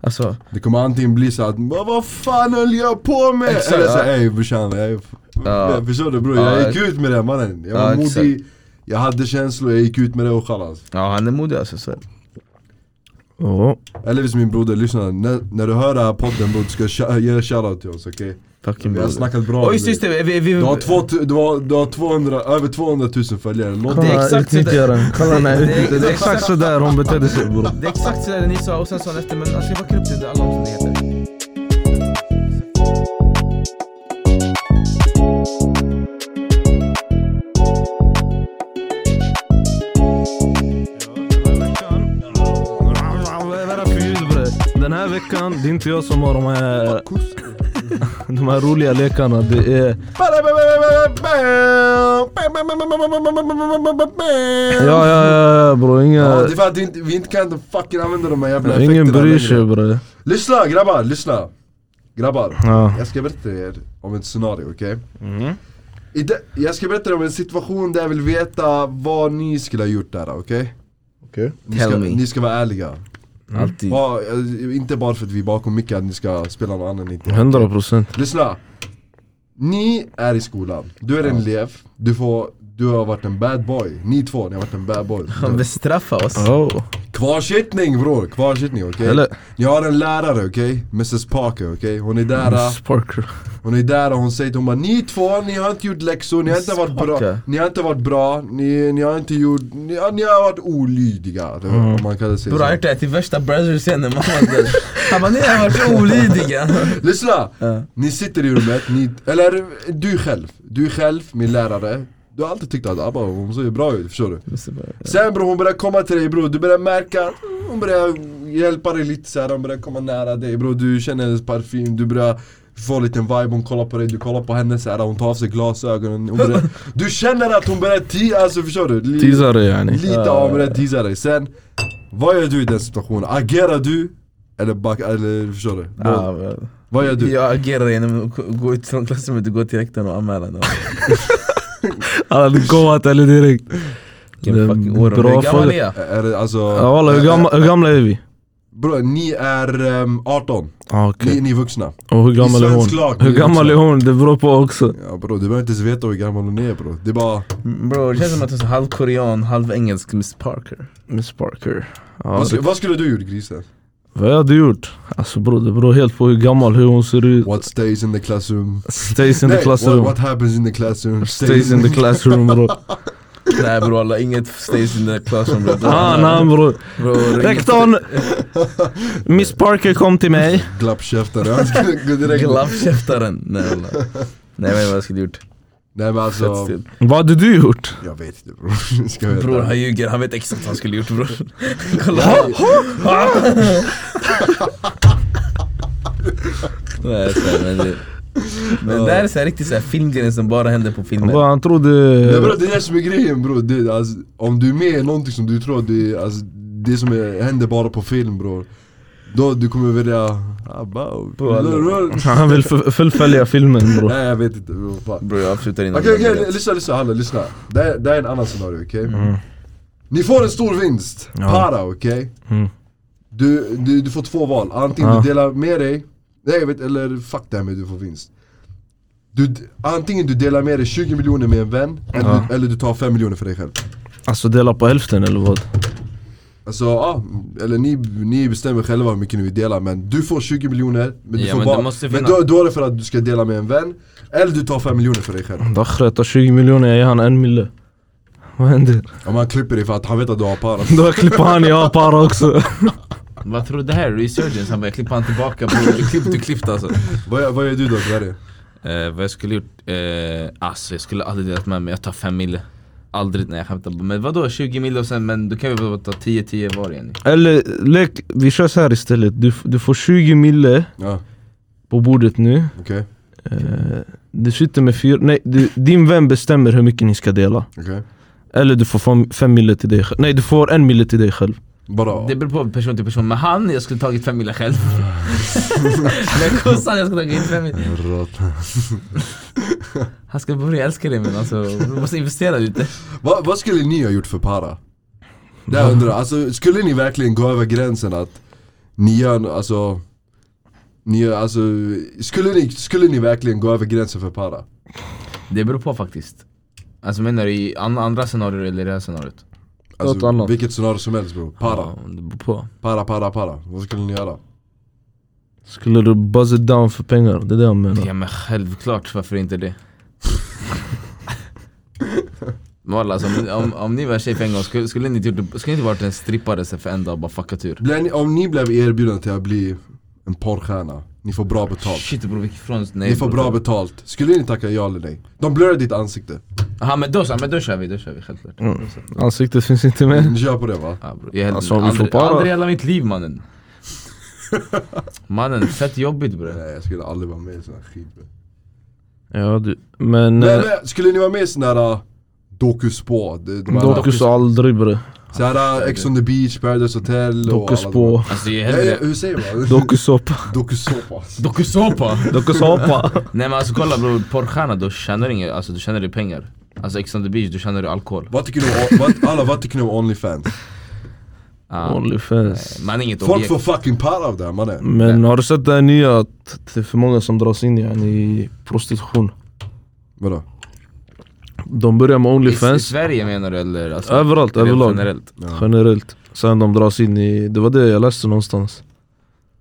Speaker 3: Alltså,
Speaker 1: Det kommer antingen bli så att "Va, vad fan höll jag på med?
Speaker 3: Exakt,
Speaker 1: Eller så
Speaker 3: ja.
Speaker 1: ey brorsan, jag är...
Speaker 3: Ja.
Speaker 1: Förstår du bror?
Speaker 3: Ja,
Speaker 1: Jag gick ut med det mannen. Jag var
Speaker 3: Ja, exakt.
Speaker 1: modig, jag hade känslor, jag gick ut med det och chalas.
Speaker 3: ja han är modig alltså så.
Speaker 2: Ja.
Speaker 1: Eller visst min broder, lyssna. När, när du hör den här podden bror, du ska sh- ge en shoutout till oss okej?
Speaker 3: Fucking
Speaker 1: Vi har
Speaker 3: broder
Speaker 1: snackat bra om
Speaker 3: Oj
Speaker 1: dig.
Speaker 3: just just det, vi, vi,
Speaker 1: du har, två, tu- du har, du har 200, över 200 000 följare, låt
Speaker 3: Det är
Speaker 2: Kolla,
Speaker 3: exakt så där.
Speaker 2: utnyttja den. Kolla, nej,
Speaker 3: <laughs> Det är-
Speaker 2: utnyttja-
Speaker 3: det
Speaker 2: Det
Speaker 3: är
Speaker 2: är exakt sådär hon betedde sig bror.
Speaker 3: Det är exakt sådär ni sa och sen sa han efter men alltså jag backar upp det, det är alla omständigheter
Speaker 2: Den här veckan, det är inte jag som har de här, <laughs> de här roliga lekarna. Det är... Ja, ja, ja, ja bror.
Speaker 1: Ja,
Speaker 2: Inga,
Speaker 1: det är för att vi inte, vi inte kan fucking använda de här jävla effekterna
Speaker 2: ingen bryr
Speaker 1: längre.
Speaker 2: sig bror.
Speaker 1: Lyssna grabbar, lyssna! Grabbar,
Speaker 2: Ja.
Speaker 1: jag ska berätta er om ett scenario, okej?
Speaker 3: Mm.
Speaker 1: I de- Jag ska berätta er om en situation där jag vill veta vad ni skulle ha gjort där, okej?
Speaker 2: Okej.
Speaker 1: Ni ska,
Speaker 3: Tell me.
Speaker 1: ni ska vara ärliga.
Speaker 3: Alltid
Speaker 1: Ja, eh, inte bara för att vi är bakom micken att ni ska spela någon annan inte.
Speaker 2: 100 procent.
Speaker 1: Lyssna! Ni är i skolan, du är en elev, du, får, du har varit en bad boy. Ni två, ni har varit en bad
Speaker 2: <laughs>
Speaker 1: boy.
Speaker 3: Han bestraffar oss
Speaker 2: Oh.
Speaker 1: Kvarsittning bror, kvarsittning okej?
Speaker 2: Eller?
Speaker 1: Jag har en lärare okej, Mrs Parker okej? Hon är där, eh,
Speaker 2: Miss Parker.
Speaker 1: hon är där och hon säger till hon bara Ni två, ni har inte gjort läxor, ni har inte varit bra,
Speaker 3: Parker.
Speaker 1: ni har inte varit bra, ni, ni har inte gjort, ni, har- ni har varit olydiga. det- Om man kan säga
Speaker 3: Bror han har
Speaker 1: så.
Speaker 3: gjort det här till värsta brothers-scenen Han bara ni har varit olydiga
Speaker 1: Lyssna! Ni sitter i rummet, ni, eller du själv, du själv, min lärare Du har alltid tyckt att Abba hon ser bra ut, förstår du? Sen bror hon börjar komma till dig bror, du börjar märka att hon börjar hjälpa dig lite så här, hon börjar komma nära dig bror Du känner hennes parfym, du börjar få en liten vibe, hon kollar på dig, du kollar på henne så här, hon tar av sig glasögonen hon börjar, Du känner att hon börjar teasa, alltså förstår du? Li-
Speaker 2: Teasare yani.
Speaker 1: Lite av hon börjar teasa dig, sen Vad gör du i den situationen? Agerar du? Eller back, eller förstår du?
Speaker 3: Ja, men-
Speaker 1: Vad gör du?
Speaker 3: Jag agerar genom att gå- gå ut från klassrummet och gå till rektorn och anmäla dem
Speaker 2: Han hade goat eller direkt.
Speaker 3: Vilken fucking
Speaker 2: Bra
Speaker 3: orm, hur gammal
Speaker 2: fråga.
Speaker 3: är jag?
Speaker 1: Är det alltså...
Speaker 2: Ja walla, hur, gamla, hur gamla är vi?
Speaker 1: Bro, ni är ehm, 18,
Speaker 2: Ah, okej.
Speaker 1: ni, ni är vuxna.
Speaker 2: Och hur gammal är
Speaker 1: svensk lag,
Speaker 2: hon? Hur
Speaker 1: det är
Speaker 2: gammal är
Speaker 1: också.
Speaker 2: hon? Det beror på också.
Speaker 1: Ja bro, du behöver inte ens veta hur gammal hon är bro. Det är bara...
Speaker 3: Bror det känns som att du är halv korean, halv engelsk Miss Parker
Speaker 2: Miss Parker. Ja,
Speaker 1: vad,
Speaker 2: det,
Speaker 1: sku- vad skulle du gjort grisen?
Speaker 2: vad jag hade gjort? Alltså bror, det beror helt på hur gammal, hur hon ser ut.
Speaker 1: What stays in the classroom?
Speaker 2: Stays in the classroom.
Speaker 1: What, what happens in the classroom?
Speaker 2: Stays
Speaker 1: <laughs>
Speaker 2: in the classroom bror.
Speaker 3: Nej bror alla, inget stays in the classroom bror
Speaker 2: Ah, namn bror.
Speaker 1: <laughs>
Speaker 3: Bror,
Speaker 2: Rektorn! Miss Parker kom till mig.
Speaker 1: Glappkäften, <laughs> jag skulle gå direkt...
Speaker 3: Glappkäftaren! Nej alla. Nej men vad skulle du gjort?
Speaker 1: Nej men alltså...
Speaker 3: Fett stilt.
Speaker 2: Vad hade du gjort?
Speaker 1: Jag vet inte <laughs> bror. Ska jag veta?
Speaker 3: Bror han ljuger, han vet exakt vad han skulle
Speaker 1: <laughs>
Speaker 3: gjort bror Kolla Nej så här, men det, men det här är så här, riktigt så här filmgrejen som bara händer på
Speaker 2: Han
Speaker 3: filmer
Speaker 2: bara, Han
Speaker 1: Nej bro,
Speaker 2: trodde...
Speaker 1: det är det som är grejen bro. Det, alltså, om du är med i någonting som du tror att det är, alltså, det som är, händer bara på film bror. Då du kommer välja... Abba...
Speaker 2: Han vill fu- fullfölja filmen bror.
Speaker 1: Nej jag vet inte bror. fan.
Speaker 3: Bror jag avslutar
Speaker 2: Mm.
Speaker 3: innan
Speaker 1: Okej
Speaker 3: det blir
Speaker 1: okej,
Speaker 3: rätt.
Speaker 1: lyssna lyssna, hallå lyssna. Det här, det här är en annan scenario okej? Ni får en stor vinst,
Speaker 2: Mm. Ja.
Speaker 1: para okej?
Speaker 2: Mm.
Speaker 1: Du, du, du får två val, antingen
Speaker 2: Ja.
Speaker 1: du delar med dig, nej jag vet, eller fuck det här med att du får vinst. Du, antingen du delar med dig 20 miljoner med en vän, eller,
Speaker 2: Ja.
Speaker 1: du, eller du tar 5 miljoner för dig själv.
Speaker 2: Alltså dela på hälften eller vad?
Speaker 1: Alltså ja, eller ni, ni bestämmer själva hur mycket ni vill dela men du får 20 miljoner men du
Speaker 4: Ja,
Speaker 1: får
Speaker 4: men
Speaker 1: bara,
Speaker 4: det måste
Speaker 1: men
Speaker 4: finnas-
Speaker 1: då, då är det för att du ska dela med en vän, eller du tar 5 miljoner för dig själv.
Speaker 2: Dakhre, ta 20 miljoner, jag ger han en mille. Vad händer?
Speaker 1: Om han klipper dig för att han vet att du har para.
Speaker 2: Då klipper han i apara också.
Speaker 4: Vad tror du det här är? Resurgence? Han bara, jag klipper han tillbaka bror. Du klippt, du klippt
Speaker 1: <laughs>
Speaker 4: alltså.
Speaker 1: vad, gör- vad gör du då Sverige?
Speaker 4: Eh, vad jag skulle gjort? Eh, alltså jag skulle aldrig delat med mig. Jag tar fem mille. Aldrig, nej jag skämtar bara. Men vadå 20 mille och sen, men då kan vi bara ta 10-10 var igen.
Speaker 2: Eller lek, vi kör så här istället. Du, f- du får 20 mille
Speaker 1: Ja,
Speaker 2: på bordet nu.
Speaker 1: okej.
Speaker 2: Eh, Du sitter med fyra, nej du, din vän bestämmer hur mycket ni ska dela
Speaker 1: Okej?
Speaker 2: Eller du får fem, fem mille till dig själv, nej du får en mille till dig själv
Speaker 1: Bara...
Speaker 3: Det beror på person till person, men han, jag skulle tagit fem millar själv
Speaker 4: <laughs>
Speaker 1: <laughs>
Speaker 3: Med kossan, jag skulle tagit fem millar Han ska börja älska dig men alltså, du måste investera lite
Speaker 1: Va, vad skulle ni ha gjort för para? Det jag undrar alltså skulle ni verkligen gå över gränsen att ni gör, alltså... Ni gör, alltså, skulle ni, skulle ni verkligen gå över gränsen för para?
Speaker 3: Det beror på faktiskt Alltså menar du i an- andra scenarier eller det här scenariot?
Speaker 2: Något annat.
Speaker 1: Alltså, vilket scenario som helst bror. Para,
Speaker 3: Ja, det beror på
Speaker 1: para, para, para. Vad skulle ni göra?
Speaker 2: Skulle du buzz it down för pengar? Det är det jag menar
Speaker 3: Ja men självklart, varför inte det? Walla alltså, om, om, om ni var en tjej för en gång, skulle, skulle ni inte gjort det- skulle ni inte varit en strippare sen för en dag och bara fuckat ur?
Speaker 1: Blev ni, om ni blev erbjudna till att bli en porrstjärna, ni får bra betalt.
Speaker 3: Shit bror vilken nej
Speaker 1: Ni får bra betalt. Skulle ni tacka ja eller nej? De blurrar ditt ansikte.
Speaker 3: Jaha men då så, men då kör vi, då kör vi självklart
Speaker 2: Mm. Ansiktet finns inte med
Speaker 1: Ni kör på det va?
Speaker 3: Ja, bro. Jag
Speaker 2: Alltså, om vi
Speaker 3: aldrig,
Speaker 2: får bara-
Speaker 3: aldrig i hela mitt liv mannen Mannen, fett jobbigt bror
Speaker 1: Nej jag skulle aldrig vara med i sån här skit. bro.
Speaker 2: Ja du, men...
Speaker 1: Nej,
Speaker 2: eh,
Speaker 1: men, skulle ni vara med i sån här uh, dokuspa? Det- de här-
Speaker 2: Dokus aldrig bre,
Speaker 1: Så här uh, Ex on the beach, Paradise Hotel och alla
Speaker 2: dokusspå,
Speaker 3: Alltså jag är
Speaker 1: de- Nej,
Speaker 3: hellre
Speaker 1: hur säger man? <laughs>
Speaker 2: dokusoppa,
Speaker 1: Dokusåpa.
Speaker 3: Dokusåpa!
Speaker 2: dokusoppa
Speaker 3: Nej men alltså kolla bror, porrstjärna då tjänar du inget, alltså du tjänar du pengar Alltså Ex on the beach, då tjänar du alkohol
Speaker 1: Vad tycker ni om, vad, alla, vad tycker ni om Onlyfans?
Speaker 3: ah,
Speaker 2: Onlyfans
Speaker 3: Man är inget
Speaker 1: Folk
Speaker 3: objekt
Speaker 1: får fucking par av det här, mannen.
Speaker 2: Men har du sett det här nya att det är för många som dras in yani, i prostitution?
Speaker 1: Vadå?
Speaker 2: De börjar med
Speaker 3: I, I
Speaker 2: Onlyfans
Speaker 3: Sverige menar du eller? Alltså,
Speaker 2: överallt,
Speaker 3: rent
Speaker 2: överlag,
Speaker 3: Generellt
Speaker 2: generellt Sen de dras in i, det var det jag läste någonstans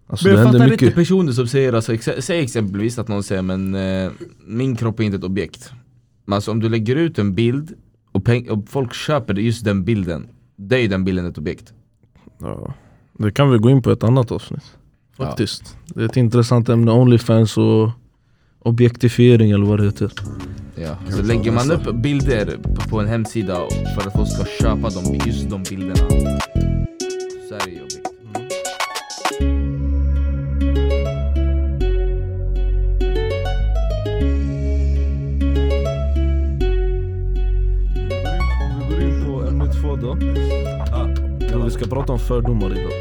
Speaker 2: Alltså
Speaker 3: Men
Speaker 2: det
Speaker 3: jag
Speaker 2: händer
Speaker 3: fattar inte
Speaker 2: mycket
Speaker 3: personer som säger, alltså, ex- säg exempelvis att någon säger men eh, min kropp är inte ett objekt. Men alltså om du lägger ut en bild och, peng- och folk köper det- just den bilden, det är ju den bilden ett objekt.
Speaker 2: ja. Det kan vi gå in på ett annat avsnitt
Speaker 3: Ja.
Speaker 2: Faktiskt, det är ett intressant ämne, Onlyfans och objektifiering eller vad det heter
Speaker 3: Ja. Så lägger man upp bilder på, på en hemsida för att folk ska köpa dem, just de bilderna, så är det ju objekt.
Speaker 2: Om vi går in på ämne två då Vi ska prata om fördomar idag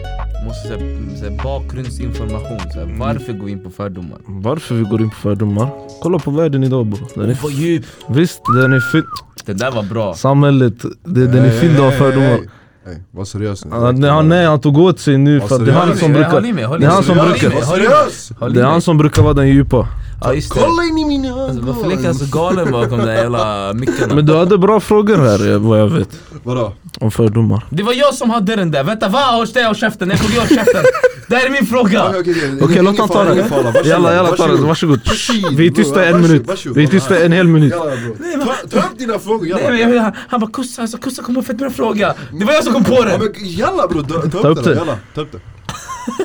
Speaker 3: Måste säga, mm, säga bakgrundsinformation, så här, varför går vi in på fördomar?
Speaker 2: Varför vi går in på fördomar? Kolla på världen idag bror, den är
Speaker 3: Vad djup!
Speaker 2: Visst, den är fylld...
Speaker 3: Det där var bra.
Speaker 2: Samhället, det, den är
Speaker 1: Hey,
Speaker 2: fylld av
Speaker 1: hey,
Speaker 2: fördomar
Speaker 1: hey, hey. Hey, Var seriös nu.
Speaker 2: Ja, nej, han, nej, han tog åt sig nu för att det är han
Speaker 1: Alltså,
Speaker 2: som
Speaker 3: Håll i mig, håll i
Speaker 2: brukar...
Speaker 3: mig, håll
Speaker 1: Var
Speaker 2: Det är han som brukar.
Speaker 3: i mig. Håll i mig, håll i mig.
Speaker 1: seriös!
Speaker 3: Håll i
Speaker 2: Det är
Speaker 3: mig.
Speaker 2: han som brukar vara den djupa
Speaker 3: Ja just det.
Speaker 1: Kolla in i mina
Speaker 3: Alltså, varför
Speaker 1: ögon!
Speaker 3: leker han så galen bakom de där jävla mickarna?
Speaker 2: Men du hade bra frågor här eh, vad jag vet
Speaker 1: Vadå?
Speaker 2: Om fördomar
Speaker 3: Det var jag som hade den där, vänta va? Håll ställ och käften, jag tog jag käften! Det här är min fråga!
Speaker 1: Okej, okej,
Speaker 2: Okej låt han ta
Speaker 1: ingen
Speaker 2: den
Speaker 1: fara, varsågod,
Speaker 2: Jalla jalla ta den,
Speaker 1: varsågod.
Speaker 2: varsågod
Speaker 1: Varsågod,
Speaker 2: Vi är
Speaker 1: bror,
Speaker 2: tysta en
Speaker 1: varsågod,
Speaker 2: minut
Speaker 1: varsågod.
Speaker 2: Vi är tysta en hel minut
Speaker 1: Jalla bror, ta, ta upp dina frågor
Speaker 3: Nej, men
Speaker 1: jalla!
Speaker 3: jag, han bara kussa, alltså, kussa kom och fett med en fråga! Det var jag som kom på
Speaker 1: Ja,
Speaker 3: den!
Speaker 1: men jalla bror, ta, ta,
Speaker 2: Ta
Speaker 1: upp
Speaker 2: upp
Speaker 1: det då,
Speaker 2: det.
Speaker 1: jalla, ta upp det!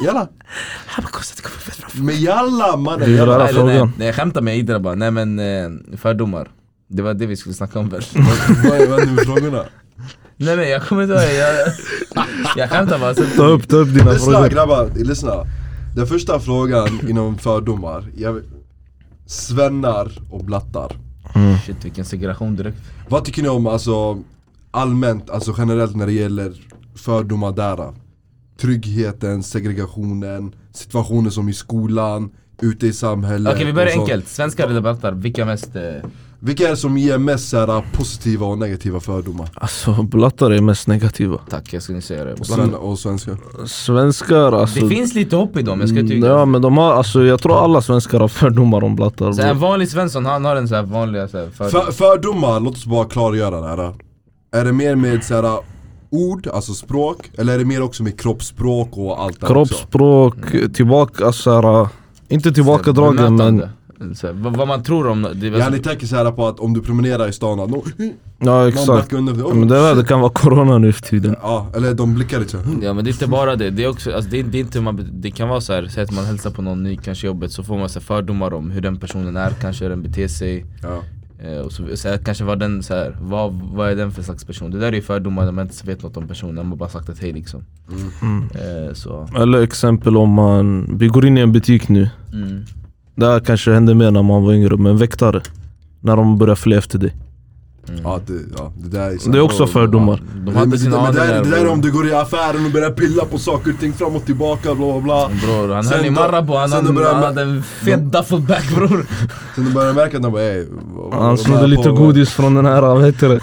Speaker 1: Jalla!
Speaker 3: Han bara kussa, det kom och fett bra fråga!
Speaker 1: Men jalla mannen!
Speaker 2: Vi
Speaker 1: Jalla.
Speaker 2: rör-
Speaker 3: Nej, nej, nej,
Speaker 2: frågan.
Speaker 3: nej jag skämtar med Idra bara, nej men eh, fördomar Det var det vi skulle snacka om väl? <laughs>
Speaker 1: Vad är vad är nu <laughs> frågorna?
Speaker 3: nej nej jag kommer inte ihåg, jag, jag skämtar bara
Speaker 2: <laughs> Ta upp, ta upp dina
Speaker 1: Lyssna
Speaker 2: frågor
Speaker 1: grabbar, lyssna! Den första frågan inom fördomar, jag, svennar och blattar
Speaker 3: Shit vilken segregation direkt
Speaker 1: Vad tycker ni om alltså allmänt, alltså generellt när det gäller fördomar där? Tryggheten, segregationen, situationer som i skolan, ute i samhället
Speaker 3: Okej vi börjar
Speaker 1: och sånt.
Speaker 3: enkelt, svenskar eller baltar, vilka mest... Eh,
Speaker 1: Vilka är det som ger mest så här, positiva och negativa fördomar?
Speaker 2: Alltså blattar är mest negativa
Speaker 3: tack jag skulle säga det
Speaker 1: Sven och svenskar
Speaker 2: Svenskar
Speaker 3: Det
Speaker 2: alltså
Speaker 3: finns lite hopp i dem, jag ska tycka
Speaker 2: Ja men de har, alltså jag tror alla svenskar har fördomar om blattar
Speaker 3: Så en
Speaker 2: bror.
Speaker 3: vanlig svensson, han har en så här vanlig så här, för...
Speaker 1: För, Fördomar, låt oss bara klargöra det här Är det mer med så här, ord, alltså språk? Eller är det mer också med kroppsspråk och allt det här också?
Speaker 2: Kroppsspråk, tillbaka, alltså såhär Inte tillbakadragen men
Speaker 3: Mm. bemötande. Så här, vad, vad man tror om det, är väl-
Speaker 1: Ja ni tänker så här på att om du promenerar i stan, att nå- någon
Speaker 2: Ja exakt
Speaker 1: backar undan
Speaker 2: Ja, Men det, där, det kan vara corona nu för tiden
Speaker 1: Ja, eller de blickar lite så här.
Speaker 3: Ja men det är inte bara det, det är också, alltså, det, är, det är inte hur man, det kan vara så här, säg att man hälsar på någon ny kanske i jobbet så får man så här, fördomar om hur den personen är, kanske hur den beter sig
Speaker 1: Ja.
Speaker 3: eh, och så, så här, kanske vad den så här, vad, vad är den för slags person? Det där är ju fördomar när man inte vet något om personen, man bara sagt ett hej liksom eh, Så,
Speaker 2: Eller exempel om man, vi går in i en butik nu
Speaker 3: mm.
Speaker 2: Det här kanske hände mer när man var yngre, men väktare. När de börjar följa efter dig.
Speaker 1: Ja, det, ja, det där är
Speaker 2: Det är också fördomar.
Speaker 3: De
Speaker 1: Men
Speaker 3: hade
Speaker 1: det,
Speaker 3: sina
Speaker 1: men det, där,
Speaker 3: adlar,
Speaker 1: det där är
Speaker 3: bror.
Speaker 1: om du går i affären och börjar pilla på saker och ting fram och tillbaka bla bla bla
Speaker 3: Bror, han
Speaker 1: Sen
Speaker 3: höll i
Speaker 1: då-
Speaker 3: Marabou, han,
Speaker 1: sen
Speaker 3: han,
Speaker 1: då började
Speaker 3: han
Speaker 1: man-
Speaker 3: hade en fet duffelback bror
Speaker 1: Sen du börjar märka att de bara ey vad- vad-
Speaker 2: Han
Speaker 1: vad-
Speaker 2: snodde
Speaker 1: vad-
Speaker 2: lite
Speaker 1: vad-
Speaker 2: godis från den här, vad heter det?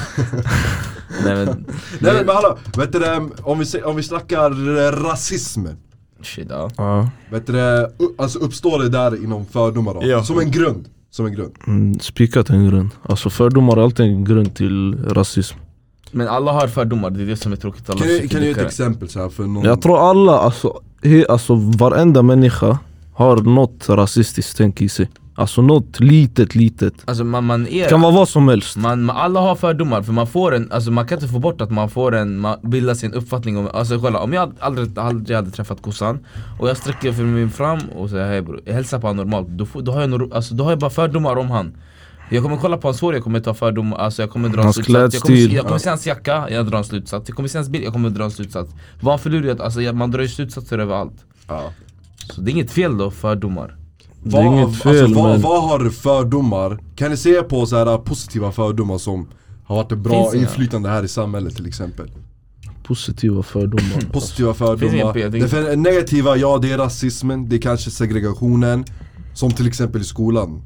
Speaker 3: Nej men,
Speaker 1: Nej men hallå, vet du, det, om, vi, se- om vi snackar eh, rasismen
Speaker 3: shit ja
Speaker 2: Ja.
Speaker 1: Vet du, det, u- alltså uppstår det där inom fördomar då?
Speaker 3: Ja.
Speaker 1: Som en grund, som en grund
Speaker 2: Mm, spikat en grund. Alltså fördomar är alltid en grund till rasism.
Speaker 1: Mm.
Speaker 3: Men alla har fördomar, det är det som är tråkigt alla
Speaker 1: Kan du, kan du ge ett
Speaker 3: psykologer.
Speaker 1: exempel så här för någon?
Speaker 2: Mm. Jag tror alla, alltså, he, alltså varenda människa har något rasistiskt tänk i sig. Alltså något litet, litet.
Speaker 3: Alltså man, man
Speaker 2: Det
Speaker 3: är
Speaker 2: kan vara vad som helst.
Speaker 3: Man, man, alla har fördomar för man får en, alltså man kan inte få bort att man får en, man bildar sin uppfattning om, alltså kolla om jag aldrig, aldrig hade träffat kossan och jag sträcker för mig fram och säger hej bror, jag hälsar på honom normalt, då, får, då, har jag nor- alltså, då har jag bara fördomar om han jag kommer kolla på hans hår, jag kommer ta fördomar, alltså jag kommer dra en
Speaker 2: Hans
Speaker 3: slutsats jag kommer,
Speaker 2: klädstil.
Speaker 3: jag kommer se hans jacka, jag drar en slutsats Jag kommer se hans bil, jag kommer dra en slutsats Vad han för lurig, alltså jag- man drar ju slutsatser överallt
Speaker 1: ja.
Speaker 3: Så det är inget fel då, fördomar
Speaker 2: Det är
Speaker 1: Vad-
Speaker 2: inget fel,
Speaker 1: alltså, vad,
Speaker 2: men-
Speaker 1: vad har fördomar, kan ni se på så här äh, positiva fördomar som har varit ett
Speaker 3: Finns
Speaker 1: bra
Speaker 3: det?
Speaker 1: inflytande här i samhället till exempel?
Speaker 2: Positiva fördomar.
Speaker 1: Positiva
Speaker 3: ingen
Speaker 1: fördomar,
Speaker 3: P, jag
Speaker 1: det
Speaker 3: tänker-
Speaker 1: för negativa, ja det är rasismen, det är kanske segregationen Som till exempel i skolan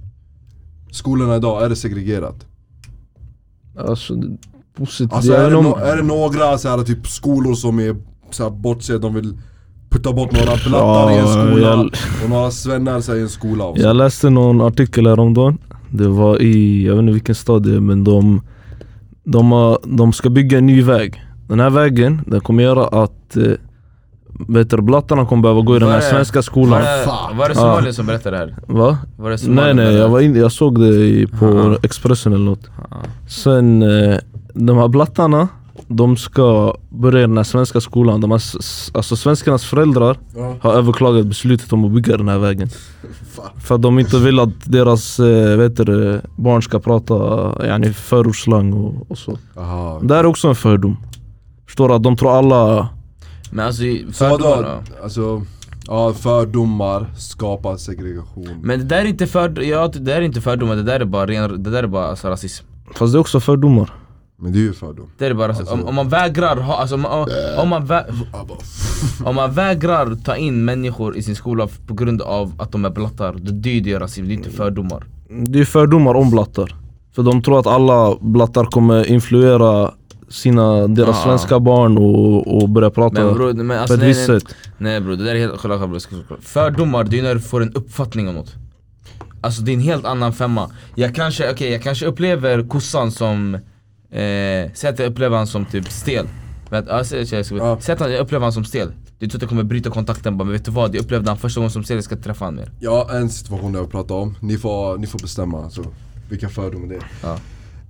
Speaker 1: Skolorna idag, är det segregerat?
Speaker 2: Alltså, det- positivt.
Speaker 1: Alltså
Speaker 2: jag
Speaker 1: är,
Speaker 2: vet
Speaker 1: det
Speaker 2: om-
Speaker 1: no- är det några så här, typ skolor som är så här, bortse, de vill putta bort några plattar i en
Speaker 2: Ja,
Speaker 1: skola
Speaker 2: jag-
Speaker 1: och några svennar så här, i en skola och så.
Speaker 2: Jag läste någon artikel häromdagen Det var i, jag vet inte vilken stad det är men de de, har, de ska bygga en ny väg Den här vägen, den kommer göra att eh, bättre blattarna kommer behöva gå i den
Speaker 3: Var
Speaker 2: här
Speaker 3: är-
Speaker 2: svenska
Speaker 3: Var
Speaker 2: skolan
Speaker 3: det,
Speaker 1: Fan.
Speaker 3: var det somalier som berättade det här?
Speaker 2: Va?
Speaker 3: Var det somalier
Speaker 2: Nej nej,
Speaker 3: berättade
Speaker 2: jag,
Speaker 3: det?
Speaker 2: var in, jag såg det i, på
Speaker 3: Aha.
Speaker 2: Expressen eller något Sen, eh, de här blattarna de ska börja i den här svenska skolan, de här, s- s- alltså svenskarnas föräldrar
Speaker 1: Ja.
Speaker 2: har överklagat beslutet om att bygga den här vägen För att de inte vill att deras eh, vet du, det, barn ska prata yani, förortsslang och, och så
Speaker 1: Aha.
Speaker 2: Det här är också en fördom Förstår du? Att de tror alla...
Speaker 3: Men alltså
Speaker 1: Så
Speaker 3: fördomar
Speaker 1: vadå?
Speaker 3: då?
Speaker 1: Alltså, ja, fördomar skapar segregation
Speaker 3: Men det där är inte för, ja, det där är inte fördomar, det där är bara ren, det där är bara alltså, rasism
Speaker 2: Fast det är också fördomar
Speaker 1: Men det är ju fördom
Speaker 3: Det där är bara rasism. Om, om man vägrar ha, alltså om, om, om, man vä, om man vägrar ta in människor i sin skola f- på grund av att de är blattar, då det är det rasism, det är inte fördomar
Speaker 2: Det är fördomar om blattar För de tror att alla blattar kommer influera sina, deras
Speaker 3: Ja.
Speaker 2: svenska barn och, och börja prata
Speaker 3: Men bror, men alltså
Speaker 2: på ett
Speaker 3: nej
Speaker 2: visst
Speaker 3: nej,
Speaker 2: sätt
Speaker 3: nej bror, det där är helt, kolla, kolla, kolla, kolla. Fördomar, det är när du får en uppfattning om något Alltså det är en helt annan femma Jag kanske, okej jag kanske upplever kossan som eh, Säg att jag upplever han som typ stel Vänt, ja, säg, säg, säg,
Speaker 1: Ja.
Speaker 3: säg att han- jag upplever han som stel Det är inte att jag kommer bryta kontakten bara, men vet du vad? Jag upplevde han första gången som stel, jag ska inte träffa han mer
Speaker 1: Ja, en situation jag vill prata om. Ni får, ni får bestämma alltså, vilka fördomar det är.
Speaker 3: Ja.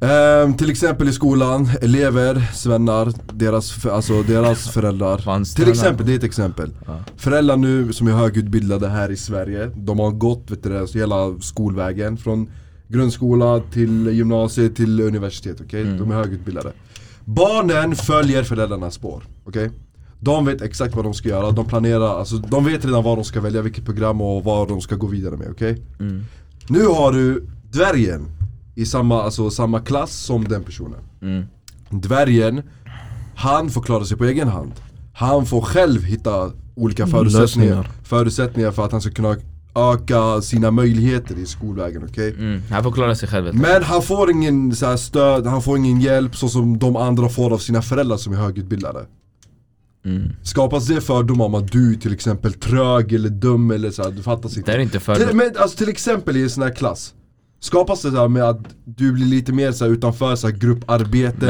Speaker 1: Ehm, till exempel i skolan, elever, svennar, deras, för, alltså deras föräldrar.
Speaker 3: Fan,
Speaker 1: till
Speaker 3: snälla.
Speaker 1: exempel, det är ett exempel. Föräldrar nu som är högutbildade här i Sverige, de har gått vet du, det, hela skolvägen. Från grundskola till gymnasiet till universitet, okej? De är högutbildade. Barnen följer föräldrarnas spår, okej? De vet exakt vad de ska göra, de planerar, alltså de vet redan vad de ska välja, vilket program och vad de ska gå vidare med, okej? Nu har du dvärgen i samma, alltså, samma klass som den personen.
Speaker 3: Mm.
Speaker 1: Dvärgen, han får klara sig på egen hand. Han får själv hitta olika förutsättningar,
Speaker 2: lösningar.
Speaker 1: förutsättningar för att han ska kunna öka sina möjligheter i skolvägen, okej?
Speaker 3: mm. Han får klara sig själv vet du.
Speaker 1: Men han får ingen så här, stöd, han får ingen hjälp så som de andra får av sina föräldrar som är högutbildade.
Speaker 3: Mm.
Speaker 1: Skapas det fördomar om att du är till exempel trög eller dum eller så här, du fattar
Speaker 3: Det
Speaker 1: inte.
Speaker 3: är inte
Speaker 1: Till,
Speaker 3: fördom
Speaker 1: men, alltså, till exempel i en sån här klass Skapas det så här med att du blir lite mer så här, utanför så här, grupparbeten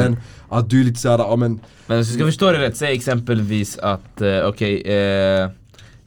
Speaker 3: Mm.
Speaker 1: Att du är lite såhär, ja men
Speaker 3: Men så ska vi förstå det rätt, säg exempelvis att, eh, okej, eh,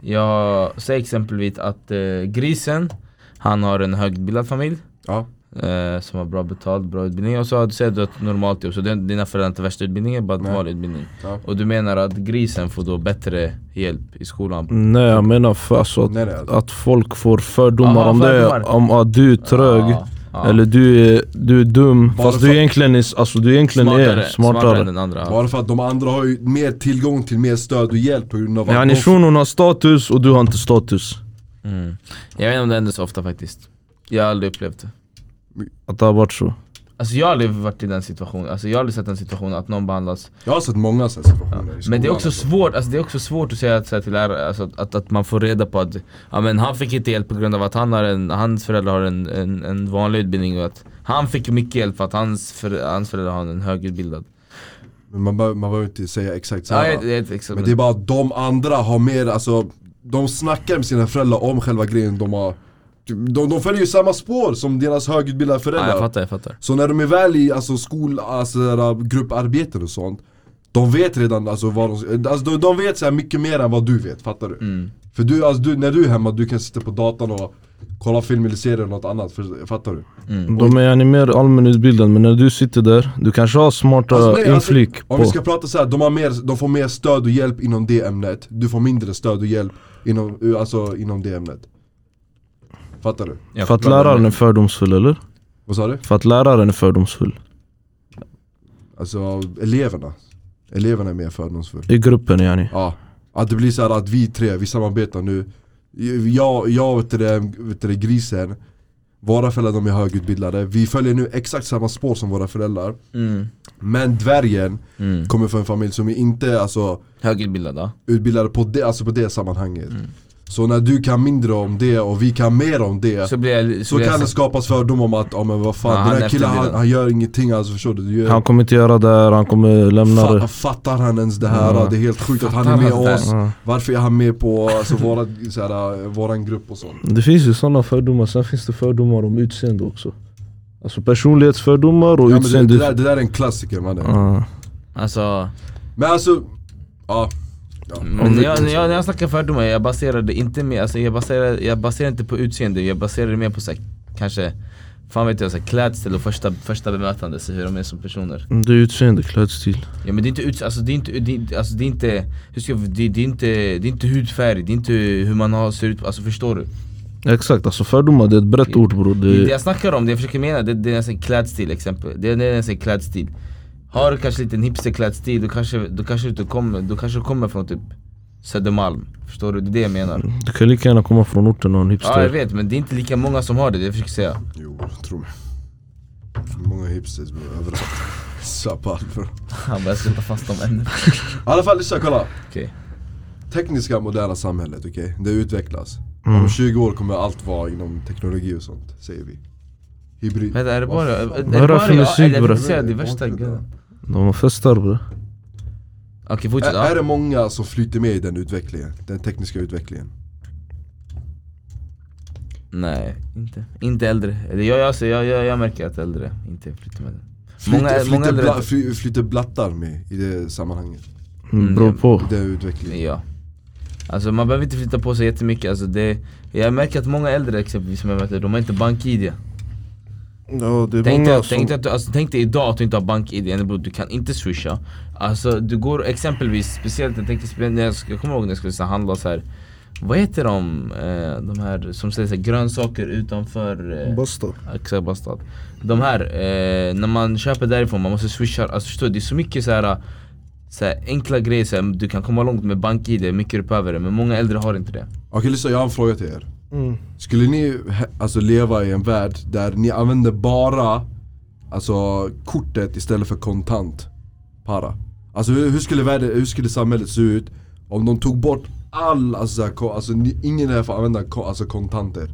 Speaker 3: jag, säg exempelvis att eh, grisen, han har en högutbildad familj
Speaker 1: Ja,
Speaker 3: eh, som har bra betalt, bra utbildning och så har du sett ett normalt jobb, så den- dina föräldrar har inte värsta utbildningen, bara en vanlig utbildning.
Speaker 1: Ja.
Speaker 3: Och du menar att grisen får då bättre hjälp i skolan?
Speaker 2: Nej jag menar för, alltså, att,
Speaker 1: Nej, nej, alltså.
Speaker 2: att folk får fördomar
Speaker 3: Aha,
Speaker 2: om det,
Speaker 3: fördomar.
Speaker 2: om att du är trög
Speaker 3: Ja, ja.
Speaker 2: Eller du är, du är dum,
Speaker 1: Bara
Speaker 2: fast
Speaker 1: för-
Speaker 2: du egentligen, är, alltså, du egentligen är smartare
Speaker 3: än den andra.
Speaker 1: bara för att de andra har ju mer tillgång till mer stöd och hjälp på grund av att
Speaker 2: Yani
Speaker 1: de-
Speaker 2: shunon har status och du har inte status
Speaker 3: Mm. Jag vet inte om det händer så ofta faktiskt. Jag har aldrig upplevt det.
Speaker 2: Att det har varit så.
Speaker 3: Alltså jag har aldrig varit i den situationen, alltså jag har aldrig sett den situationen att någon behandlas
Speaker 1: Jag har sett många sådana situationer i
Speaker 3: Men det är
Speaker 1: skolan.
Speaker 3: också svårt, alltså det är också svårt att säga att, så här, till lärare, alltså, att, att, att man får reda på att ja, men han fick inte hjälp på grund av att han har en, hans föräldrar har en, en, en vanlig utbildning och att han fick mycket hjälp för att hans, för, hans föräldrar har en högutbildad.
Speaker 1: Men man, behöver- man behöver inte säga exakt
Speaker 3: Ja,
Speaker 1: samma.
Speaker 3: jag, jag, liksom- exakt,
Speaker 1: Men det är bara att de andra har mer, alltså De snackar med sina föräldrar om själva grejen de har De, de följer ju samma spår som deras högutbildade
Speaker 3: ja,
Speaker 1: föräldrar
Speaker 3: jag fattar, jag fattar.
Speaker 1: Så när de är väl i alltså, skol, alltså, där, grupparbeten och sånt De vet redan alltså, vad de, alltså, de, de vet så här mycket mer än vad du vet, fattar du?
Speaker 3: Mm.
Speaker 1: För du, alltså, du, när du är hemma, du kan sitta på datorn och kolla film eller serier eller något annat, för, fattar du?
Speaker 2: De är yani mer allmänutbildade men när du sitter där, du kanske har smarta
Speaker 1: Alltså, nej, alltså,
Speaker 2: inflyk
Speaker 1: Om
Speaker 2: på...
Speaker 1: vi ska prata så här, de, har mer, de får mer stöd och hjälp inom det ämnet Du får mindre stöd och hjälp inom, alltså, inom det ämnet Fattar du?
Speaker 3: Jag
Speaker 2: För att
Speaker 3: fattar.
Speaker 2: läraren är fördomsfull eller?
Speaker 1: Vad sa du?
Speaker 2: För att läraren är fördomsfull.
Speaker 1: Alltså eleverna Eleverna är mer fördomsfulla
Speaker 2: I gruppen yani.
Speaker 1: Ja, att det blir så här att vi tre, vi samarbetar nu Jag, jag vet du det, vet du det, grisen Våra föräldrar de är högutbildade, vi följer nu exakt samma spår som våra föräldrar
Speaker 3: Mm.
Speaker 1: Men dvärgen
Speaker 3: Mm.
Speaker 1: kommer från en familj som är inte alltså
Speaker 3: Högutbildad ja.
Speaker 1: utbildade på det, alltså på det sammanhanget.
Speaker 3: Mm.
Speaker 1: Så när du kan mindre om det och vi kan mer om det så,
Speaker 3: Så blir jag, blir
Speaker 1: kan
Speaker 3: jag,
Speaker 1: det skapas fördom om att ja men vad fan,
Speaker 3: Ja, han
Speaker 1: den
Speaker 3: är
Speaker 1: här killen han,
Speaker 3: efterbliven.
Speaker 1: han gör ingenting alltså förstår du? du gör,
Speaker 2: Han kommer inte göra det här, han kommer lämna
Speaker 1: fa,
Speaker 2: det.
Speaker 1: fattar han ens det här?
Speaker 2: Ja.
Speaker 1: Det är helt sjukt att han
Speaker 3: Fattar
Speaker 1: är med
Speaker 3: han det?
Speaker 1: oss.
Speaker 2: Ja.
Speaker 1: Varför är han med på alltså, våra, så här, våran grupp och sånt?
Speaker 2: Det finns ju sådana fördomar, sen finns det fördomar om utseende också. Alltså personlighetsfördomar och
Speaker 1: Ja, men det,
Speaker 2: utseende.
Speaker 1: det, där, det där är en klassiker mannen.
Speaker 2: Ja.
Speaker 3: alltså,
Speaker 1: Men alltså, ja. ja.
Speaker 3: men när jag, när, jag, när jag snackar fördomar, jag baserar det inte mer, alltså, jag, baserar, jag baserar inte på utseende, jag baserar det mer på så här, kanske, fan vet jag, så här, klädsel och första, första bemötande, så hur de är som personer.
Speaker 2: Det är utseende, klädstil.
Speaker 3: Ja men det är inte ut, alltså det är inte, det är, inte- alltså det är inte, hur ska jag, det, det är inte, det är inte hudfärg, det är inte hur man har, ser ut, alltså förstår du?
Speaker 2: Exakt, alltså fördomar det är ett brett ord bror.
Speaker 3: Det,
Speaker 2: Det,
Speaker 3: jag snackar om, det jag försöker mena, det, det är en klädstil exempel, det är när jag säger klädstil Har du kanske lite en hipsterklädstil, då kanske, då kanske du inte kommer, då kanske du kommer från typ Södermalm, förstår du? Det är det jag menar
Speaker 2: du kan lika gärna komma från orten och en
Speaker 3: Ja jag
Speaker 2: hipster.
Speaker 3: vet, men det är inte lika många som har det, det jag försöker säga
Speaker 1: Jo, tro mig. Många hipsters bro, överallt. Sapal bro. I
Speaker 3: <laughs> Han börjar släppa fast dem ännu
Speaker 1: alla fall lyssna, kolla.
Speaker 3: Okej,
Speaker 1: tekniska moderna samhället, okej? Det utvecklas.
Speaker 2: Mm.
Speaker 1: Om 20 år kommer allt vara inom teknologi och sånt, säger vi. Hybrid.
Speaker 3: vänta är det bara, är
Speaker 1: Vad
Speaker 3: det
Speaker 1: fan?
Speaker 2: Vad är det
Speaker 3: bara
Speaker 2: för musik,
Speaker 3: jag? Eller jag
Speaker 2: bror?
Speaker 3: fick säga det värsta grejen
Speaker 2: De har festar bror.
Speaker 3: Okej
Speaker 1: Är,
Speaker 3: fortsätt,
Speaker 1: är
Speaker 3: ja.
Speaker 1: det många som flyter med i den utvecklingen? Den tekniska utvecklingen?
Speaker 3: Nej, inte, inte äldre. Eller jag, jag, jag, jag, jag märker att äldre inte flyttar med det.
Speaker 1: Flyter,
Speaker 3: Många-
Speaker 1: flyter,
Speaker 3: många äldre-
Speaker 1: bla, fly, flyter blattar med i det sammanhanget?
Speaker 2: Mm, beror
Speaker 3: Mm,
Speaker 2: på.
Speaker 1: I den utvecklingen?
Speaker 3: Ja. Alltså man behöver inte flytta på sig jättemycket. Alltså, det, jag märker att många äldre exempelvis som jag möter, de har inte bank-id.
Speaker 2: Ja, det
Speaker 3: Tänk dig, att- tänk, dig att, du- alltså, tänk dig idag att du inte har bank-id, eller bror, du kan inte swisha. Alltså du går exempelvis, speciellt jag tänkte, spe- när jag, ska- jag kommer ihåg när jag skulle så här, handla så här. Vad heter de, eh, de här som säger så här, grönsaker utanför eh,
Speaker 5: Basta.
Speaker 3: Exakt Bastad. De här, eh, när man köper därifrån, man måste swisha. Alltså förstår du, det är så mycket så här, så här enkla grejer. Så här, du kan komma långt med bank-id, hur mycket du behöver det. Men många äldre har inte det.
Speaker 1: Okej lyssna, jag har en fråga till er.
Speaker 2: Mm.
Speaker 1: Skulle ni he- alltså, leva i en värld där ni använder bara alltså, kortet istället för kontant para? Alltså hur, hur, skulle världen, hur skulle samhället se ut om de tog bort all, alltså, så här, ko- alltså ni, ingen här får använda ko, alltså, kontanter.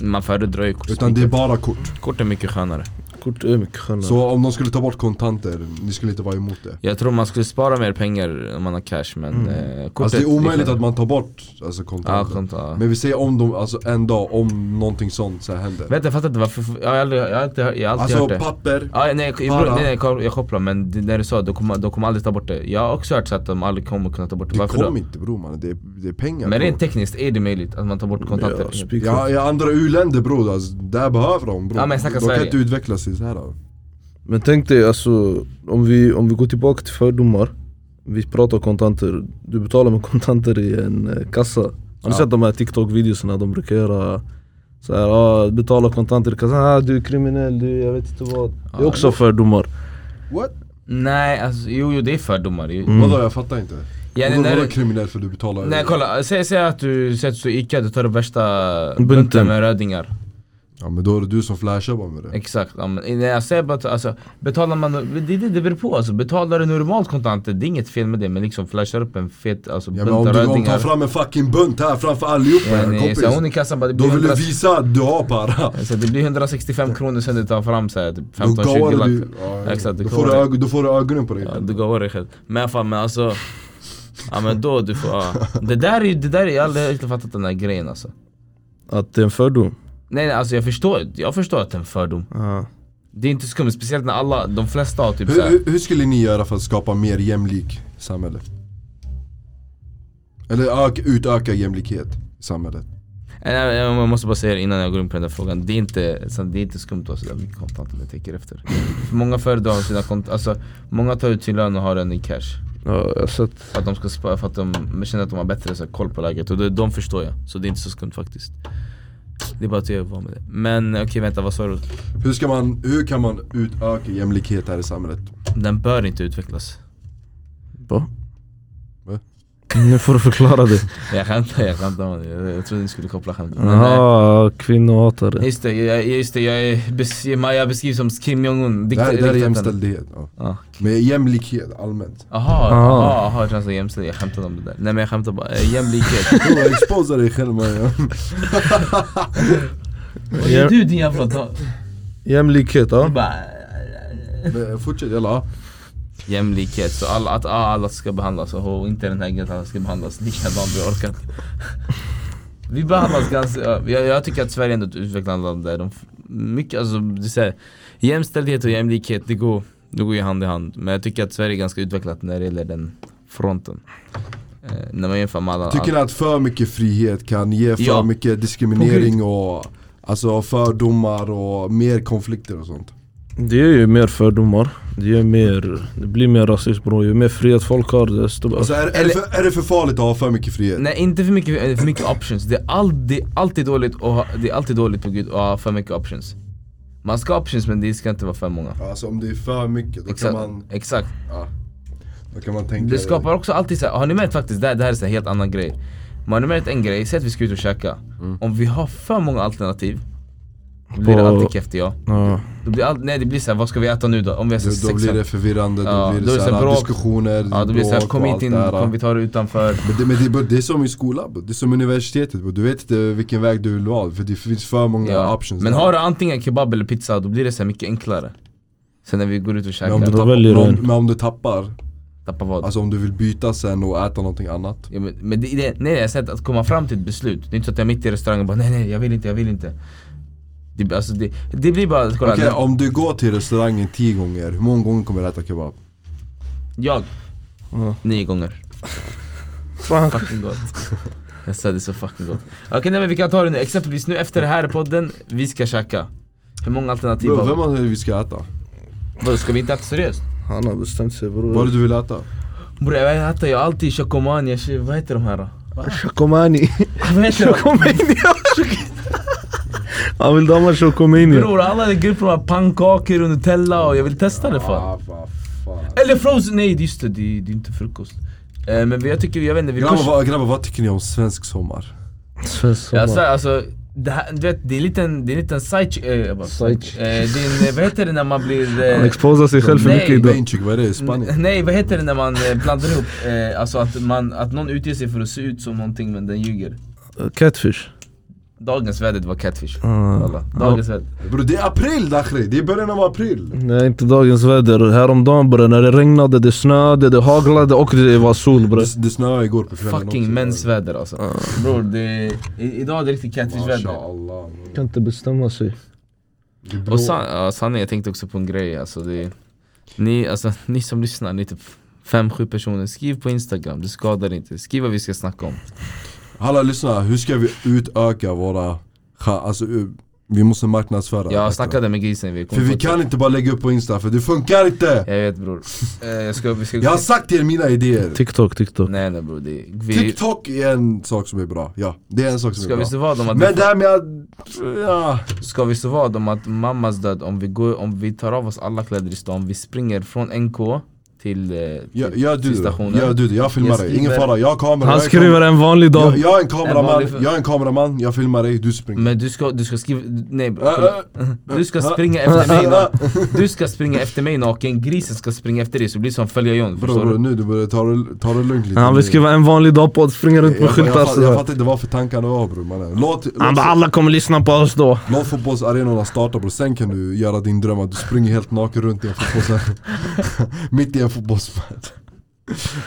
Speaker 3: Man föredrar ju kort.
Speaker 1: Utan det är bara kort.
Speaker 3: Kort är mycket skönare.
Speaker 2: Kort eh, är mycket skönare.
Speaker 3: Mm.
Speaker 1: Så om de skulle ta bort kontanter, ni skulle inte vara emot det.
Speaker 3: Jag tror man skulle spara mer pengar om man har cash men eh, kortet...
Speaker 1: Alltså det är omöjligt
Speaker 3: skönare.
Speaker 1: att man tar bort alltså,
Speaker 3: Ja,
Speaker 1: kontanter.
Speaker 3: kontant. ja.
Speaker 1: Men vi säger om de, alltså en dag, om någonting sånt så här händer.
Speaker 3: Vänta jag fattar inte varför, jag har aldrig, jag har alltid, hört- jag har alltid
Speaker 1: Alltså
Speaker 3: hört det.
Speaker 1: papper,
Speaker 3: Ah, nej, jag-
Speaker 1: Bara.
Speaker 3: nej, nej, jag jag kopplar men det- när du sa det, de kommer de kommer aldrig ta bort det. Jag har också hört så att de aldrig kommer kunna ta bort det.
Speaker 1: det
Speaker 3: Varför då?
Speaker 1: kommer inte bror mannen, det, är- det är pengar.
Speaker 3: Men
Speaker 1: bror.
Speaker 3: rent tekniskt är det möjligt att man tar bort kontanter.
Speaker 2: Ja, spik-
Speaker 1: Ja, i andra u-länder bror, alltså, där behöver de bror.
Speaker 3: Ja, men jag snackar
Speaker 1: de kan
Speaker 3: Sverige.
Speaker 1: inte utveckla sig så här. då.
Speaker 2: Men tänk dig alltså, om vi, om vi går tillbaka till fördomar Vi pratar kontanter, du betalar med <laughs> kontanter i en eh, kassa Har ni
Speaker 1: Ja.
Speaker 2: sett de här TikTok-videorna de brukar göra så här, ah, betala kontanter i kassan, ah, du är kriminell, du jag vet inte vad Det är också fördomar
Speaker 1: What?
Speaker 3: Nej, alltså, jo, jo det är fördomar. Jo.
Speaker 1: Vadå jag fattar inte.
Speaker 3: Yani
Speaker 1: Mm. Vadå-
Speaker 3: när,
Speaker 1: Vadå kriminellt för du betalar?
Speaker 3: nej kolla, säg, säg att du säg att du står i Ica, du tar upp värsta
Speaker 2: Bunten.
Speaker 3: bunten med rödingar
Speaker 1: Ja men då är det du som flashar bara med det.
Speaker 3: Exakt, ja, men när jag säger bara alltså, betalar man, det, det, det beror på alltså, betalar du normalt kontanter, det är inget fel med det men liksom flashar upp en fet alltså,
Speaker 1: Ja,
Speaker 3: bunt
Speaker 1: men om
Speaker 3: av
Speaker 1: du om
Speaker 3: rödingar
Speaker 1: tar fram en fucking bunt här framför allihopa
Speaker 3: Ja,
Speaker 1: här,
Speaker 3: nej,
Speaker 1: kompis.
Speaker 3: så hon i kassan bara, det
Speaker 1: Då
Speaker 3: blir,
Speaker 1: vill
Speaker 3: 100,
Speaker 1: du visa att du har para.
Speaker 3: alltså, det blir 165 kronor sen du tar fram så här, typ
Speaker 1: Då
Speaker 3: 15-20
Speaker 1: gawar
Speaker 3: lax
Speaker 1: du. Ja,
Speaker 3: Exakt,
Speaker 1: Då
Speaker 3: du
Speaker 1: får du,
Speaker 3: gawar.
Speaker 1: ög- då får du ögonen på dig.
Speaker 3: Ja, du går dig själv. Men i alla fall, men alltså. Ja men då du får, ja. Det där är ju, det där är, jag har aldrig riktigt fattat den där grejen alltså.
Speaker 2: Att det är en fördom.
Speaker 3: Nej nej alltså jag förstår, jag förstår att det är en fördom.
Speaker 2: Ja.
Speaker 3: Det är inte skumt, speciellt när alla, de flesta har typ
Speaker 1: Hur, <laughs>
Speaker 3: såhär.
Speaker 1: hur, hur skulle ni göra för att skapa mer jämlik samhälle? Eller ök, utöka jämlikhet i samhället?
Speaker 3: Nej, Eh, nej, Jag måste bara säga det innan jag går in på den där frågan. Det är inte, så det är inte skumt att ha sådär mycket kontanter jag tänker efter. För många företag har sina kontanter, alltså många tar ut sin lön och har den i cash.
Speaker 2: Ja, jag har sett.
Speaker 3: För att de ska spara, för att de känner att de har bättre så här, koll på läget och det, de förstår jag, så det är inte så skumt faktiskt Det är bara att jag var med det Men okej vänta, vad sa du?
Speaker 1: Hur, ska man, hur kan man utöka jämlikhet här i samhället?
Speaker 3: Den bör inte utvecklas
Speaker 2: Va?
Speaker 1: Va?
Speaker 2: Nu får du förklara det.
Speaker 3: Jag skämtar, jag skämtar man. jag, jag trodde ni skulle koppla skämt Men,
Speaker 2: Jaha, Ah, kvinnohatare.
Speaker 3: nej. Just det, jag, just det, jag, är bes, jag beskrivs som Kim Jong-Un
Speaker 1: Där,
Speaker 3: dikta-
Speaker 1: där är
Speaker 3: diktatorn.
Speaker 1: jämställdhet. Ja.
Speaker 3: Ja.
Speaker 1: Med jämlikhet
Speaker 3: <laughs>
Speaker 1: allmänt.
Speaker 3: Jaha,
Speaker 2: Ah.
Speaker 3: jaha, jaha, jag känns jämställd, jag skämtade om det där Nej men jag skämtar bara,
Speaker 1: <laughs>
Speaker 3: Eh, jämlikhet
Speaker 1: Bro, exposa dig själv man.
Speaker 3: Vad gör du din jävla dag?
Speaker 2: Jämlikhet, ja.
Speaker 3: Bara,
Speaker 1: Men eh, Fortsätt jalla. ja.
Speaker 3: Jämlikhet, så alla, att alla ska behandlas och inte den här grejen att alla ska behandlas likadant, vi orkar inte. Vi behandlas ganska, ja, jag, jag tycker att Sverige ändå är ett utvecklat land där de, f- mycket, alltså det är så här, jämställdhet och jämlikhet det går, det går ju hand i hand. Men jag tycker att Sverige är ganska utvecklat när det gäller den fronten. Eh, när man jämför med alla
Speaker 1: Tycker ni att för mycket frihet kan ge för
Speaker 3: Ja.
Speaker 1: mycket diskriminering och alltså fördomar och mer konflikter och sånt?
Speaker 2: Det är ju mer fördomar. Det, är mer, det blir mer rasism bror. Ju mer frihet folk har desto...
Speaker 1: Alltså är, är, det
Speaker 3: Eller-
Speaker 1: för, är det för farligt att ha för mycket frihet?
Speaker 3: Nej inte för mycket, eh, för mycket options, det är, all, det är alltid dåligt att ha, det är alltid dåligt på gud att ha för mycket options. Man ska ha options men det ska inte vara för många.
Speaker 1: Alltså om det är för mycket då kan
Speaker 3: Exakt,
Speaker 1: man,
Speaker 3: exakt.
Speaker 1: ja, då kan man tänka
Speaker 3: Det skapar också alltid så här, har ni märkt faktiskt, det här, det här är så här helt annan grej. Men har ni märkt en grej, säg att vi ska ut och käka. Om vi har för många alternativ, då blir
Speaker 2: På-
Speaker 3: det alltid kefft ja.
Speaker 2: Ja.
Speaker 3: Då blir all, nej det blir så här, vad ska vi äta nu då? Om vi är så
Speaker 1: Då, då blir det förvirrande,
Speaker 3: Ja,
Speaker 1: då blir
Speaker 3: då är
Speaker 1: det,
Speaker 3: det
Speaker 1: så här,
Speaker 3: bråk.
Speaker 1: diskussioner,
Speaker 3: Ja då blir det såhär,
Speaker 1: bråk
Speaker 3: kom
Speaker 1: och
Speaker 3: hit
Speaker 1: allt
Speaker 3: in,
Speaker 1: det här.
Speaker 3: kom vi tar det utanför.
Speaker 1: Men det, men det, är bara- det är som i skolan, bro. det är som universitetet, bro. du vet inte vilken väg du vill vara för det finns för många
Speaker 3: Ja.
Speaker 1: options
Speaker 3: Men
Speaker 1: där.
Speaker 3: har du antingen kebab eller pizza, då blir det så här mycket enklare. Sen när vi går ut och
Speaker 1: men om, du
Speaker 2: Då
Speaker 3: käkar,
Speaker 1: tappar,
Speaker 2: väljer du
Speaker 1: men om,
Speaker 2: en.
Speaker 1: men om du tappar,
Speaker 3: tappa vad?
Speaker 1: alltså om du vill byta sen och äta någonting annat
Speaker 3: Ja, men, men det, det, nej, jag säger att- att komma fram till ett beslut. Det är inte så att jag är mitt i restaurangen och bara nej, nej, jag vill inte, jag vill inte. Det, alltså, det, det blir bara, kolla.
Speaker 1: Okej,
Speaker 3: när-
Speaker 1: om du går till restaurangen 10 gånger, hur många gånger kommer du äta kebab?
Speaker 3: Jag?
Speaker 2: Ja.
Speaker 3: Nio gånger.
Speaker 2: Fan.
Speaker 3: Fucking
Speaker 1: <laughs>
Speaker 3: gott. Jag sa det är så fucking gott. Okej nej men vi kan ta det nu, exempelvis nu efter det här podden, vi ska käka. Hur många alternativ
Speaker 1: Bro, vem
Speaker 3: har
Speaker 1: har sagt att vi ska äta?
Speaker 3: vi? Vadå, Ska vi inte äta seriöst?
Speaker 2: Han har bestämt sig
Speaker 1: Vad är
Speaker 2: bror.
Speaker 1: det du vill äta?
Speaker 3: Bror jag äter ju alltid chokomania, vad heter de
Speaker 1: <laughs>
Speaker 3: här då?
Speaker 2: Chokomani.
Speaker 3: Vad heter de?
Speaker 2: Chokomini. Han vill damma Chokomini.
Speaker 3: Bror alla i gruppen har pannkakor och nutella och jag vill testa det fan.
Speaker 1: vad fan.
Speaker 3: Eller frozen, nej just det, det är det är inte frukost. Eh, Men jag tycker, jag vet inte, vi
Speaker 1: Grabbar,
Speaker 3: pushar.
Speaker 1: vad, grabbar, vad tycker ni om svensk sommar?
Speaker 2: Svensson.
Speaker 3: Jag sa alltså, det här, du vet det är en liten, det är en liten side chick, eh, jag bara-
Speaker 2: Side
Speaker 3: eh, det är en, vad heter det när man blir...
Speaker 2: Han
Speaker 3: Eh,
Speaker 2: exposar sig själv för
Speaker 3: Nej.
Speaker 2: mycket idag.
Speaker 1: Benchik, vad är det? i Spanien?
Speaker 3: <laughs> nej vad heter det när man eh, blandar ihop, eh, alltså att, man, att någon utger sig för att se ut som någonting men den ljuger
Speaker 2: Catfish.
Speaker 3: Dagens väder det var catfish
Speaker 1: Mm.
Speaker 2: Ah.
Speaker 3: Alla. Dagens väder
Speaker 1: Bro, det är april Dakhri, det är början av april!
Speaker 2: Nej inte dagens väder. Häromdagen bre, när det regnade, det snöade, det haglade och det var sol bre.
Speaker 1: Det, det snöade igår på kvällen
Speaker 3: Fucking mensväder alltså
Speaker 1: Mm.
Speaker 3: Bror det, i, idag är det riktigt catfish väder
Speaker 1: Mashallah.
Speaker 2: Kan inte bestämma sig.
Speaker 1: Det är blå.
Speaker 3: Och san, ja, sanning, jag tänkte också på en grej alltså det, ni, alltså, ni som lyssnar, ni är typ 5-7 personer, skriv på instagram, det skadar inte Skriv vad vi ska snacka om
Speaker 1: Hallå lyssna, hur ska vi utöka våra... cha- Alltså, u- vi måste marknadsföra
Speaker 3: Jag
Speaker 1: detta.
Speaker 3: snackade med grisen, vi kom
Speaker 1: För vi
Speaker 3: på-
Speaker 1: kan inte bara lägga upp på insta, för det funkar inte!
Speaker 3: Jag vet bror, Eh, jag ska, vi ska
Speaker 1: Jag har sagt till er mina idéer
Speaker 2: TikTok, TikTok.
Speaker 3: Nej nej bror, det, vi,
Speaker 1: TikTok är en sak som är bra, ja. Det är en sak som
Speaker 3: Ska
Speaker 1: är
Speaker 3: vi
Speaker 1: bra.
Speaker 3: slå vad om att
Speaker 1: Men det här med att... Ja.
Speaker 3: Ska vi så vad om att mammas död, om vi, går, om vi tar av oss alla kläder i stan, vi springer från NK till, eh, till,
Speaker 1: Jag, jag
Speaker 3: till
Speaker 1: du det.
Speaker 3: stationen.
Speaker 1: Jag, du det. jag filmar
Speaker 3: Jag
Speaker 1: dig, ingen
Speaker 3: skriver-
Speaker 1: fara, jag har kamera
Speaker 2: Han
Speaker 1: jag är
Speaker 2: skriver
Speaker 1: kam-
Speaker 2: en vanlig dag.
Speaker 1: jag, jag är en kameraman,
Speaker 3: vanlig-
Speaker 1: jag är en kameraman, jag filmar dig, du springer
Speaker 3: Men du ska, du ska skriva, nej bro,
Speaker 1: Äh,
Speaker 3: <laughs> kolla. Du ska springa efter
Speaker 1: <laughs>
Speaker 3: mig
Speaker 1: äh,
Speaker 3: na- Du ska springa efter mig naken, grisen ska springa efter dig så det blir som följa John
Speaker 1: Bror
Speaker 3: förstår
Speaker 1: bror
Speaker 3: du?
Speaker 1: nu du börjar ta det, ta det lugnt lite
Speaker 2: Han vill
Speaker 1: nu.
Speaker 2: skriva en vanlig dag på att springa runt
Speaker 1: jag,
Speaker 2: med
Speaker 1: jag, jag,
Speaker 2: skyltar
Speaker 1: fatt- jag
Speaker 2: sådär.
Speaker 1: fattar inte vad för tankar du har bror mannen Låt,
Speaker 2: Han
Speaker 1: låt,
Speaker 2: bara alla kommer lyssna på oss då.
Speaker 1: låt fotbollsarenorna starta bror, sen kan du göra din dröm att du springer helt naken runt i en fotbollsarena <laughs> Mitt i en fotbollsmatch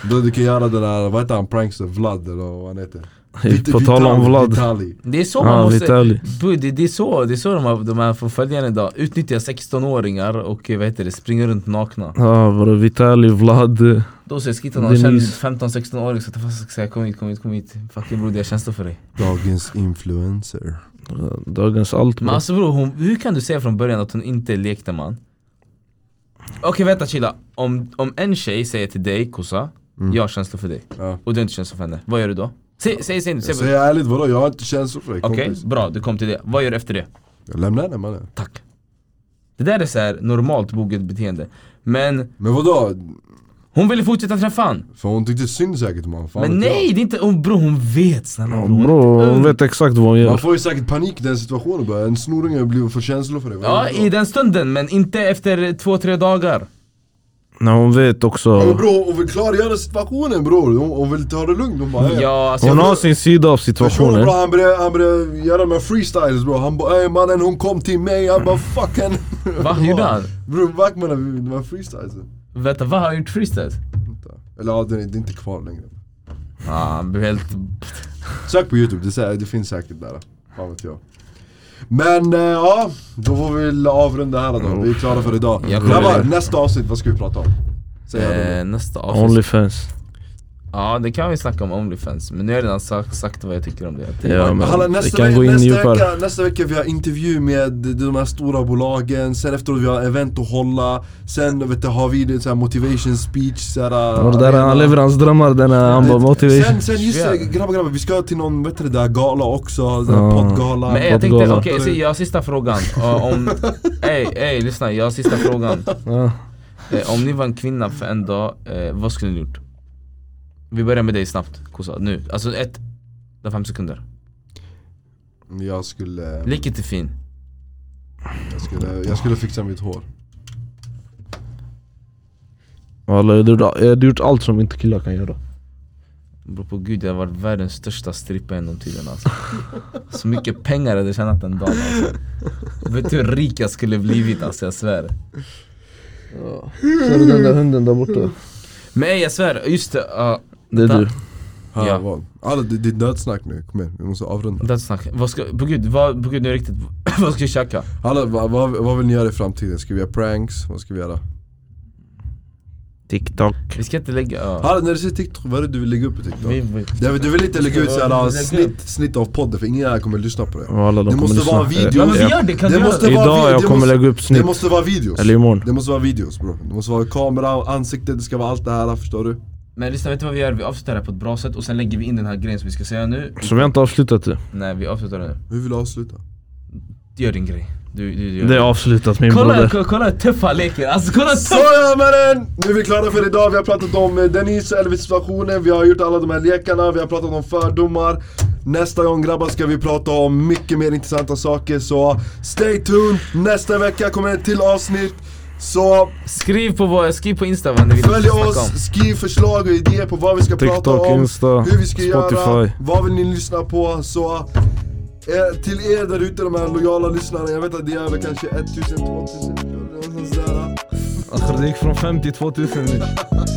Speaker 1: Då du kan göra den där, vad heter han, prankster, Vlad eller vad han heter? Vit-
Speaker 2: På tal om
Speaker 1: Vitali-
Speaker 2: Vlad.
Speaker 1: Vitali.
Speaker 3: Det är så man
Speaker 2: Ja,
Speaker 3: måste,
Speaker 2: Vitali.
Speaker 3: Bro, det, det, är så, det är så de här, de här förföljarna idag utnyttjar 16-åringar och eh, vad heter det, springer runt nakna
Speaker 2: Ja bror, Vitali, Vlad. eh,
Speaker 3: Då säger skita någon känd
Speaker 2: Denise.
Speaker 3: 15-16-åring ska ta fast och säga kom hit, kom hit, kom hit Fucking bror det är känslor för dig
Speaker 1: Dagens influencer
Speaker 2: Dagens allt
Speaker 3: Men
Speaker 2: bror.
Speaker 3: alltså bror, hon, hur kan du säga från början att hon inte lekte man? Okej vänta chilla, om, om en tjej säger till dig kossa, jag har känslor för dig
Speaker 1: Ja.
Speaker 3: Och du har inte känslor för henne, vad gör du då? Säg, säg, säg nu, säg
Speaker 1: Säg ärligt vadå, jag har inte känslor för dig
Speaker 3: Okej,
Speaker 1: kompis
Speaker 3: bra du kom till det, vad gör du efter det?
Speaker 1: Jag lämnar henne mannen
Speaker 3: Tack Det där är så här normalt boget beteende Men
Speaker 1: Men vadå?
Speaker 3: hon ville fortsätta träffa han
Speaker 1: För hon tyckte synd säkert om honom, fan
Speaker 3: Men
Speaker 1: vet jag.
Speaker 3: nej det är inte, hon, bror hon vet snälla bror, hon är
Speaker 2: Bror,
Speaker 3: inte ung.
Speaker 2: hon vet exakt vad hon
Speaker 1: Man
Speaker 2: gör.
Speaker 1: får ju säkert panik i den situationen bara, en snoring har blivit för känslor för det
Speaker 3: Ja i den stunden men inte efter två, tre dagar
Speaker 2: Nej, hon vet
Speaker 1: Men
Speaker 2: också.
Speaker 1: bror, hon vill klargöra situationen bror, hon, hon vill ta det lugnt, hon bara "Ey."
Speaker 3: Ja, alltså,
Speaker 2: Hon
Speaker 3: jag-
Speaker 2: har sin sida av
Speaker 1: Personen
Speaker 2: situationen.
Speaker 1: bror han började, han började göra med freestyles bror, han bara ey mannen hon kom till mig, jag bara fuck henne
Speaker 3: Va? Hur gjorde han?
Speaker 1: <laughs> Bror vack mannen, det var freestyles
Speaker 3: Vänta, vad har han gjort freestyle?
Speaker 1: Vänta. Eller ja, det är det är inte kvar längre
Speaker 3: Ah, han
Speaker 2: <laughs>
Speaker 3: blev helt...
Speaker 1: Sök på youtube, det, sä- det finns säkert där, fan vet jag men eh, ja, då får vi väl avrunda här då. Vi är klara för idag.
Speaker 3: Mm. Jag kommer-
Speaker 1: Grabbar, nästa avsnitt, vad ska vi prata om? Säg det.
Speaker 3: Eh, nästa avsnitt.
Speaker 2: Onlyfans.
Speaker 3: Ja, det kan vi snacka om Onlyfans. Men nu har jag redan sagt, sagt vad jag tycker om det.
Speaker 2: Ja, men
Speaker 1: Hallå,
Speaker 2: vi
Speaker 1: nästa,
Speaker 2: kan
Speaker 1: ve-
Speaker 2: gå in
Speaker 1: nästa,
Speaker 2: djupare.
Speaker 1: vecka, nästa vecka vi har intervju med de här stora bolagen, sen efteråt vi har event att hålla, sen vet du, har vi det, så här motivation speech så här,
Speaker 2: Och det där,
Speaker 1: arena. Eh,
Speaker 2: han lever hans drömmar den här, han bara motivation.
Speaker 1: Sen, sen just det, grabbar grabbar, vi ska till någon bättre där gala också, så här
Speaker 2: Ja.
Speaker 1: poddgala
Speaker 3: Men jag tänkte,
Speaker 2: Poddgala.
Speaker 3: okej, okay, jag har sista frågan. Ja,
Speaker 2: <laughs>
Speaker 3: om... Ey, ey, lyssna. Jag har sista frågan.
Speaker 2: Ja.
Speaker 3: Eh, om ni var en kvinna för en dag, eh, vad skulle ni gjort? Vi börjar med dig snabbt, Kosa. Nu. Alltså ett... Det var fem sekunder.
Speaker 1: Jag skulle,
Speaker 3: Lik inte fin.
Speaker 1: jag skulle, jag skulle fixa mitt hår
Speaker 2: Walla, jag hade gjort- jag hade gjort allt som inte killar kan göra.
Speaker 3: Beror på gud, jag har varit världens största strippa genom tiden alltså. Så mycket pengar jag hade tjänat en dag alltså. Vet du hur rik jag skulle blivit alltså, jag svär.
Speaker 2: Ser du den där hunden där borta?
Speaker 3: Men ey, jag svär, just det. ja,
Speaker 2: Det är
Speaker 3: vänta.
Speaker 2: du.
Speaker 1: Här,
Speaker 3: Ja.
Speaker 1: vad? Alla, det, det är dödsnack nu, kom igen, vi måste avrunda
Speaker 3: Dödssnack. Vad ska, på gud, vad, på gud nu är det riktigt, <laughs> vad ska vi käka?
Speaker 1: Alla, vad, vad, vad vill ni göra i framtiden? Ska vi göra pranks? Vad ska vi göra?
Speaker 2: TikTok.
Speaker 3: Vi ska inte lägga, ja.
Speaker 1: Halla, när du säger TikTok, vad är det du vill lägga upp på TikTok?
Speaker 3: Vi, vi,
Speaker 1: Nej, men du vill inte lägga ut såhär
Speaker 3: Lägga
Speaker 1: uh,
Speaker 3: upp.
Speaker 1: snitt, snitt av podden för ingen här kommer lyssna på det
Speaker 2: Walla, de
Speaker 1: Det
Speaker 2: kommer
Speaker 1: måste
Speaker 2: lyssna.
Speaker 1: vara en video.
Speaker 2: Eh,
Speaker 3: men vi
Speaker 2: ja.
Speaker 3: gör det, kan
Speaker 1: Det
Speaker 3: vi göra
Speaker 1: måste
Speaker 3: det?
Speaker 1: vara
Speaker 2: Idag
Speaker 1: video,
Speaker 2: jag
Speaker 1: det
Speaker 2: kommer
Speaker 1: måste-
Speaker 2: lägga upp
Speaker 1: Det
Speaker 2: snitt.
Speaker 1: måste vara videos
Speaker 2: Eller imorgon.
Speaker 1: Det måste vara videos bror, det måste vara kamera, ansikte, det ska vara allt det här förstår du?
Speaker 3: Men lyssna, vet du vad vi gör? Vi avslutar det här på ett bra sätt och sen lägger vi in den här grejen som vi ska säga nu.
Speaker 2: Som jag inte avslutat det.
Speaker 3: Nej, vi avslutar det nu.
Speaker 1: Hur vill du avsluta?
Speaker 3: Gör din grej. Du, du, du gör
Speaker 2: Det är avslutat min
Speaker 3: Kolla,
Speaker 2: broder.
Speaker 3: kolla, kolla hur tuffa leker, alltså kolla hur tuff!
Speaker 1: Såja mannen! Nu är vi klara för idag, vi har pratat om eh, Dennis och Elvis situationen, vi har gjort alla de här lekarna, vi har pratat om fördomar Nästa gång grabbar ska vi prata om mycket mer intressanta saker så stay tuned! Nästa vecka kommer ett till avsnitt så
Speaker 3: Skriv på vår, skriv på insta vad ni vill
Speaker 1: Följ
Speaker 3: snacka om.
Speaker 1: oss, skriv förslag och idéer på vad vi ska prata
Speaker 2: TikTok,
Speaker 1: om,
Speaker 2: Insta,
Speaker 1: hur vi ska göra,
Speaker 2: Spotify.
Speaker 1: vad vill ni lyssna på? Så eh, till er där ute, de här lojala lyssnarna, jag vet att det är väl kanske 1000, 2000, någonstans där.
Speaker 2: Det gick från 50 till 2000 nu.